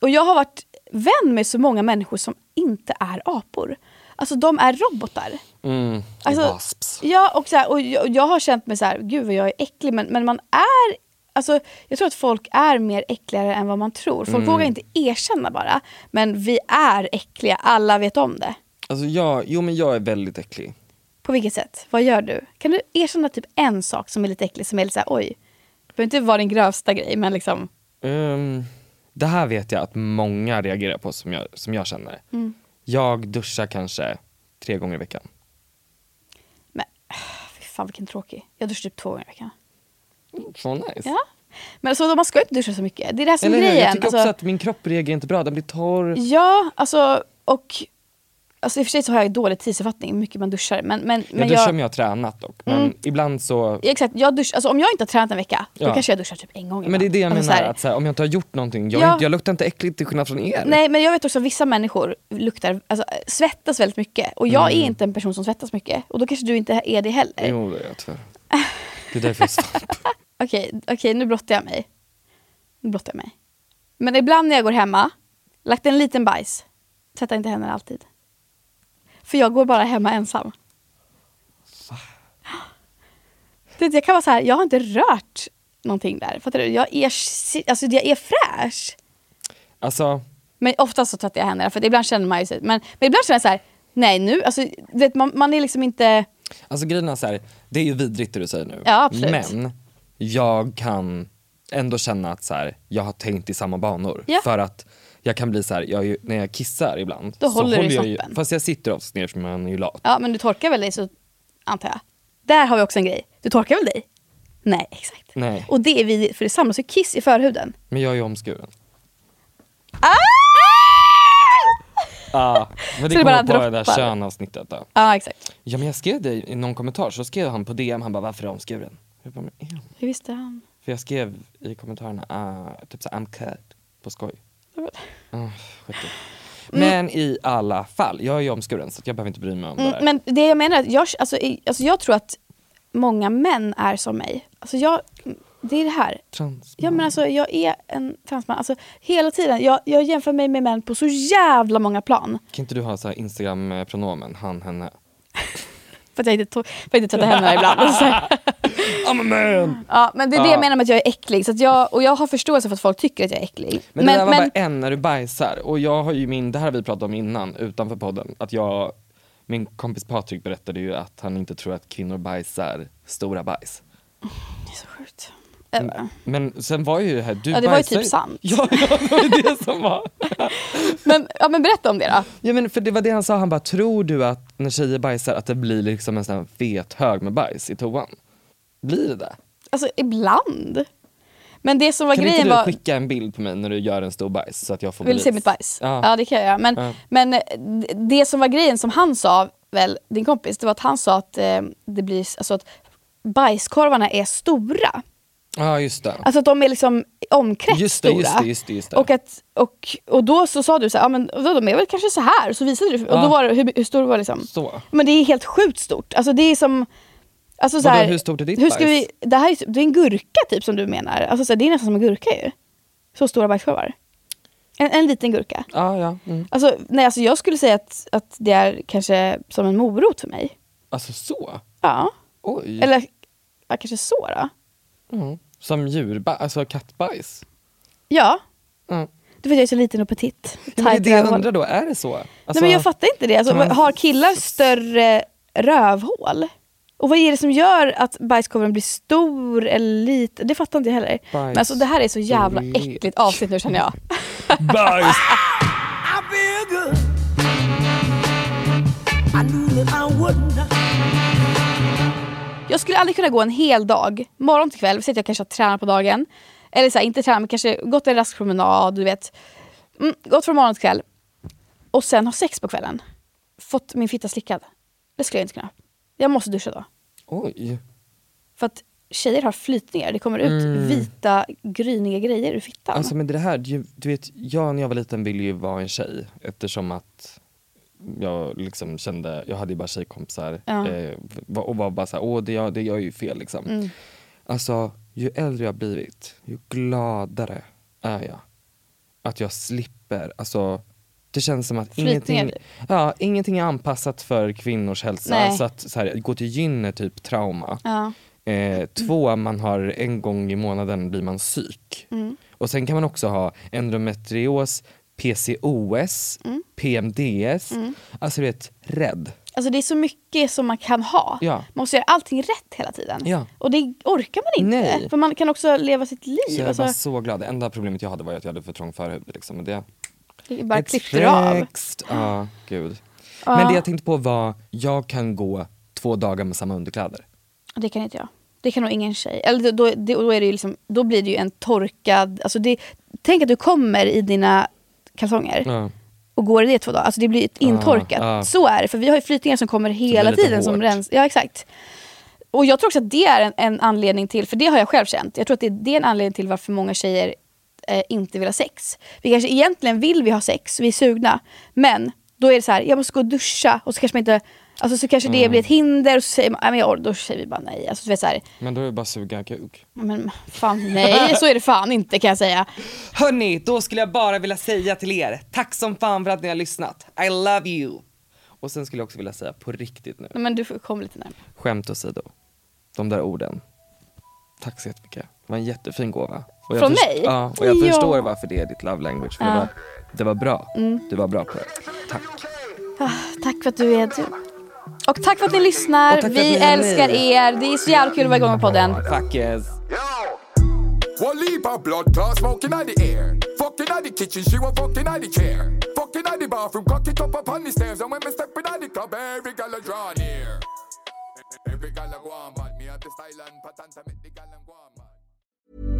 Speaker 2: Och jag har varit vän med så många människor som inte är apor. Alltså de är robotar.
Speaker 4: Mm.
Speaker 2: Alltså,
Speaker 4: Wasps.
Speaker 2: Ja, och, så här, och jag, jag har känt mig så här, gud vad jag är äcklig. Men, men man är, alltså, jag tror att folk är mer äckligare än vad man tror. Folk
Speaker 4: Mm.
Speaker 2: vågar inte erkänna bara. Men vi är äckliga, alla vet om det.
Speaker 4: Alltså jag, jo men jag är väldigt äcklig.
Speaker 2: På vilket sätt? Vad gör du? Kan du erkänna typ en sak som är lite äcklig, som är lite så här, oj. Det behöver inte vara din grövsta grej, men liksom.
Speaker 4: Ehm, det här vet jag att många reagerar på som jag, som jag känner.
Speaker 2: Mm.
Speaker 4: Jag duschar kanske tre gånger i veckan.
Speaker 2: Fy fan vilken tråkig. Jag duschar typ två gånger i veckan.
Speaker 4: Så nice.
Speaker 2: Ja. Men alltså, man ska ju inte duscha så mycket. Det är det här som är
Speaker 4: Eller hur?
Speaker 2: grejen.
Speaker 4: Jag tycker också
Speaker 2: alltså, Mm,
Speaker 4: att min kropp reagerar inte bra, den blir torr.
Speaker 2: Ja, alltså och... Alltså i och för sig så har jag dålig tidsuppfattning hur mycket man duschar. Men, men,
Speaker 4: jag
Speaker 2: men
Speaker 4: duschar
Speaker 2: jag,
Speaker 4: om jag har tränat dock. Men
Speaker 2: Mm.
Speaker 4: ibland så...
Speaker 2: Exakt, jag duschar, alltså, om jag inte har tränat en vecka, då
Speaker 4: Ja.
Speaker 2: kanske jag duschar typ en gång.
Speaker 4: Men det är det jag
Speaker 2: ibland. Alltså,
Speaker 4: menar,
Speaker 2: så här-
Speaker 4: att så här, om jag inte har gjort någonting, jag,
Speaker 2: Ja.
Speaker 4: är inte, jag luktar inte äckligt till skillnad från er.
Speaker 2: Nej men jag vet också att vissa människor luktar, alltså, svettas väldigt mycket. Och jag är
Speaker 4: Mm.
Speaker 2: inte en person som svettas mycket. Och då kanske du inte är det heller.
Speaker 4: Jo det är jag tyvärr. Det är därför jag är svamp.
Speaker 2: Okej, okej nu brottar jag mig. Nu blottar jag mig. Men ibland när jag går hemma, lagt en liten bajs, tvättar inte händerna alltid. För jag går bara hemma ensam. Du vet, jag kan vara så här, jag har inte rört någonting där. Fattar du? Jag är, si- alltså, jag är fräsch.
Speaker 4: Alltså,
Speaker 2: Men oftast så tvättar jag händerna för att ibland känner man ju sig... Men, men ibland känner jag så här, nej nu, alltså, du vet, man, man är liksom inte...
Speaker 4: alltså grejen är så här, det är ju vidrigt det du säger nu.
Speaker 2: Ja, absolut.
Speaker 4: Men jag kan ändå känna att så här, jag har tänkt i samma banor.
Speaker 2: Ja.
Speaker 4: För att jag kan bli så här, jag, är ju- när jag kissar ibland.
Speaker 2: Då
Speaker 4: så
Speaker 2: håller du i
Speaker 4: jag ju-
Speaker 2: snoppen.
Speaker 4: Fast jag sitter oftast ner som man är ju lat.
Speaker 2: Ja, men du torkar väl dig så antar jag. Där har vi också en grej. Du torkar väl dig? Nej, exakt.
Speaker 4: Nej,
Speaker 2: Och det är vi för det samlas ju kiss i förhuden.
Speaker 4: men jag är ju omskuren.
Speaker 2: Ah!
Speaker 4: Ah,
Speaker 2: Så
Speaker 4: men
Speaker 2: det
Speaker 4: det kommer
Speaker 2: bara
Speaker 4: på det där
Speaker 2: droppar.
Speaker 4: könavsnittet då.
Speaker 2: Ja, exakt.
Speaker 4: Ja men jag skrev det i någon kommentar, så skrev han på DM, han bara varför är jag omskuren? Jag bara, men är jag?
Speaker 2: Hur visste han?
Speaker 4: För jag skrev i kommentarerna, ah, typ såhär I'm cut, på skoj. Ah, skit i. men i alla fall, jag är ju omskuren så att jag behöver inte bry mig om det där.
Speaker 2: Mm, men det jag menar är att jag, alltså, i- alltså, jag tror att många män är som mig. Alltså jag, det är det här.
Speaker 4: Trans.
Speaker 2: Ja, men alltså, jag är en transman. Alltså, hela tiden. Jag, jag jämför mig med män på så jävla många plan.
Speaker 4: Kan inte du ha så här Instagram-pronomen, han, henne?
Speaker 2: För att jag inte, to- för att jag inte tvättar händerna ibland. Alltså,
Speaker 4: I'm a man!
Speaker 2: ja, men det är det
Speaker 4: Ja.
Speaker 2: jag menar med att jag är äcklig. Så att jag, och jag har förståelse för att folk tycker att jag är äcklig.
Speaker 4: Men, det där var bara en när du bajsar. Och jag har ju min, det här har vi pratat om innan, utanför podden. Att jag, min kompis Patrik berättade ju att han inte tror att kvinnor bajsar stora bajs.
Speaker 2: Det är så sjukt.
Speaker 4: Mm. Men sen var ju det här, du
Speaker 2: Ja, det var ju
Speaker 4: bajsar
Speaker 2: typ sant.
Speaker 4: Ja, ja, det var ju det som var.
Speaker 2: Men, ja, men berätta om det då.
Speaker 4: Ja men för det var det han sa, han bara tror du att när tjejer bajsar att det blir liksom en sån här fet hög med bajs i toan? Blir det det?
Speaker 2: Alltså ibland. Men det som var
Speaker 4: Kan inte
Speaker 2: grejen
Speaker 4: du
Speaker 2: var...
Speaker 4: skicka en bild på mig när du gör en stor bajs så att jag får
Speaker 2: Vill du
Speaker 4: bevis?
Speaker 2: se mitt bajs?
Speaker 4: Ja.
Speaker 2: Ja, det kan jag göra. Men,
Speaker 4: Ja.
Speaker 2: men eh, d- det som var grejen som han sa, väl, din kompis, det var att han sa att, eh, det blir, alltså att bajskorvarna är stora.
Speaker 4: Ja just det.
Speaker 2: Alltså att de är liksom i omkrets
Speaker 4: Just det, just
Speaker 2: stora.
Speaker 4: det, just det, just det.
Speaker 2: Och, att, och, och då så sa du så här, ja, men vadå, de är väl kanske så här. Och så visade du, och
Speaker 4: Ja.
Speaker 2: då var det, hur, hur stor var det liksom?
Speaker 4: Så.
Speaker 2: Men det är helt sjukt stort. Alltså det är som... Alltså så
Speaker 4: Vadå,
Speaker 2: här,
Speaker 4: hur stort är ditt
Speaker 2: hur ska
Speaker 4: bajs?
Speaker 2: vi, det, här är, typ- det är en gurka typ som du menar. Alltså så här, det är nästan som en gurka ju. Så stora bajskorvar. En, en liten gurka.
Speaker 4: Ja ja. Mm.
Speaker 2: Alltså, nej, alltså jag skulle säga att, att det är kanske som en morot för mig.
Speaker 4: Alltså så?
Speaker 2: Ja.
Speaker 4: Oj.
Speaker 2: Eller ja, kanske så då.
Speaker 4: Mm. Som djurbajs, alltså kattbajs.
Speaker 2: Ja.
Speaker 4: Mm.
Speaker 2: Du vet jag är så liten och petit.
Speaker 4: Ja, men
Speaker 2: Tight
Speaker 4: det är det jag
Speaker 2: rövhål.
Speaker 4: undrar då, är det så?
Speaker 2: nej, men jag fattar inte det. Alltså,
Speaker 4: kan man-
Speaker 2: Har killar större rövhål? Och vad är det som gör att bajskorven blir stor eller liten? Det fattar inte jag heller. Men alltså, det här är så jävla
Speaker 4: Bajstorlek.
Speaker 2: äckligt avsnitt nu känner jag.
Speaker 4: Bajs!
Speaker 5: I feel good. I knew that I wouldn't.
Speaker 2: Jag skulle aldrig kunna gå en hel dag, morgon till kväll, säg att jag kanske har tränat på dagen. Eller så här, inte tränat men kanske gått en rask promenad, du vet. Mm, gått från morgon till kväll. Och sen ha sex på kvällen. Fått min fitta slickad. Det skulle jag inte kunna. Jag måste duscha då.
Speaker 4: Oj.
Speaker 2: För att tjejer har flytningar, det kommer ut
Speaker 4: Mm.
Speaker 2: vita gryniga grejer ur fittan.
Speaker 4: Alltså men det här, du, du vet, jag när jag var liten ville ju vara en tjej eftersom att jag liksom kände, jag hade ju bara tjejkompisar
Speaker 2: Ja.
Speaker 4: eh, var- och var bara såhär, åh det gör, det gör ju fel liksom.
Speaker 2: Mm.
Speaker 4: Alltså ju äldre jag blivit, ju gladare är jag. Att jag slipper, alltså det känns som att
Speaker 2: Flytningar,
Speaker 4: ingenting,
Speaker 2: typ.
Speaker 4: ja, ingenting är anpassat för kvinnors hälsa.
Speaker 2: Nej.
Speaker 4: Så att så här, gå till gyn är typ trauma.
Speaker 2: Ja.
Speaker 4: Eh, två, man har en gång i månaden blir man psyk.
Speaker 2: Mm.
Speaker 4: Och sen kan man också ha endometrios, PCOS,
Speaker 2: Mm.
Speaker 4: PMDS,
Speaker 2: Mm.
Speaker 4: alltså du vet, rädd.
Speaker 2: Alltså det är så mycket som man kan ha.
Speaker 4: Ja.
Speaker 2: Man måste göra allting rätt hela tiden.
Speaker 4: Ja.
Speaker 2: Och det orkar man inte.
Speaker 4: Nej.
Speaker 2: För man kan också leva sitt liv.
Speaker 4: Så jag
Speaker 2: alltså,
Speaker 4: var så glad. Det enda problemet jag hade var ju att jag hade för trång förhud. Liksom. och Det,
Speaker 2: det bara
Speaker 4: It's
Speaker 2: klippte av.
Speaker 4: fixed. Ja, gud.
Speaker 2: Ja.
Speaker 4: Men det jag tänkte på var, jag kan gå två dagar med samma underkläder.
Speaker 2: Det kan inte jag. Det kan nog ingen tjej. Eller då, då, då, är det ju liksom, då blir det ju en torkad... Alltså det, tänk att du kommer i dina kalsonger
Speaker 4: Ja.
Speaker 2: och går i det två dagar. Alltså det blir
Speaker 4: Ah,
Speaker 2: ett intorkat.
Speaker 4: ja.
Speaker 2: Så är det. För vi har ju flytningar som kommer hela
Speaker 4: lite
Speaker 2: tiden. Som
Speaker 4: hårt.
Speaker 2: rens, ja, exakt. Och jag tror också att det är en, en anledning till, för det har jag själv känt. Jag tror att det, det är en anledning till varför många tjejer eh, inte vill ha sex. Vi kanske egentligen vill vi ha sex, vi är sugna. Men då är det så här, jag måste gå och duscha och så kanske man inte Alltså så kanske det
Speaker 4: Mm.
Speaker 2: blir ett hinder och så säger man, "Nej, men jag, då säger vi bara nej. Alltså, du vet, så här,
Speaker 4: Men då är det bara suga kuk.
Speaker 2: men fan nej, så är det fan inte kan jag säga.
Speaker 9: Hörni, då skulle jag bara vilja säga till er, tack som fan för att ni har lyssnat. I love you.
Speaker 4: Och sen skulle jag också vilja säga på riktigt nu,
Speaker 2: Nej, men du får- kom lite närmare.
Speaker 4: skämt åsido, de där orden. Tack så jättemycket. Det var en jättefin gåva. Och jag
Speaker 2: Från
Speaker 4: först-
Speaker 2: mig?
Speaker 4: Ja, och jag
Speaker 2: Ja.
Speaker 4: förstår varför det är ditt love language. För det,
Speaker 2: Ja.
Speaker 4: var, det var bra.
Speaker 2: Mm.
Speaker 4: Du var bra på det. Tack.
Speaker 2: Ah, tack för att du är du. Och tack för att ni lyssnar.
Speaker 4: Och tack för att
Speaker 2: Vi
Speaker 4: ni är ni.
Speaker 2: älskar er. Det är så jävla kul att vara igång med podden.
Speaker 4: Fuck yes.
Speaker 1: One leap of blood clot smoking out the air. Fucking out the kitchen, she was fucking out the chair. Fucking out the bathroom, cock it up upon the stairs. And when me stepping out the club, every gal a draw near. Every gal a go on, but me have the style and pattern to make the gal and go on.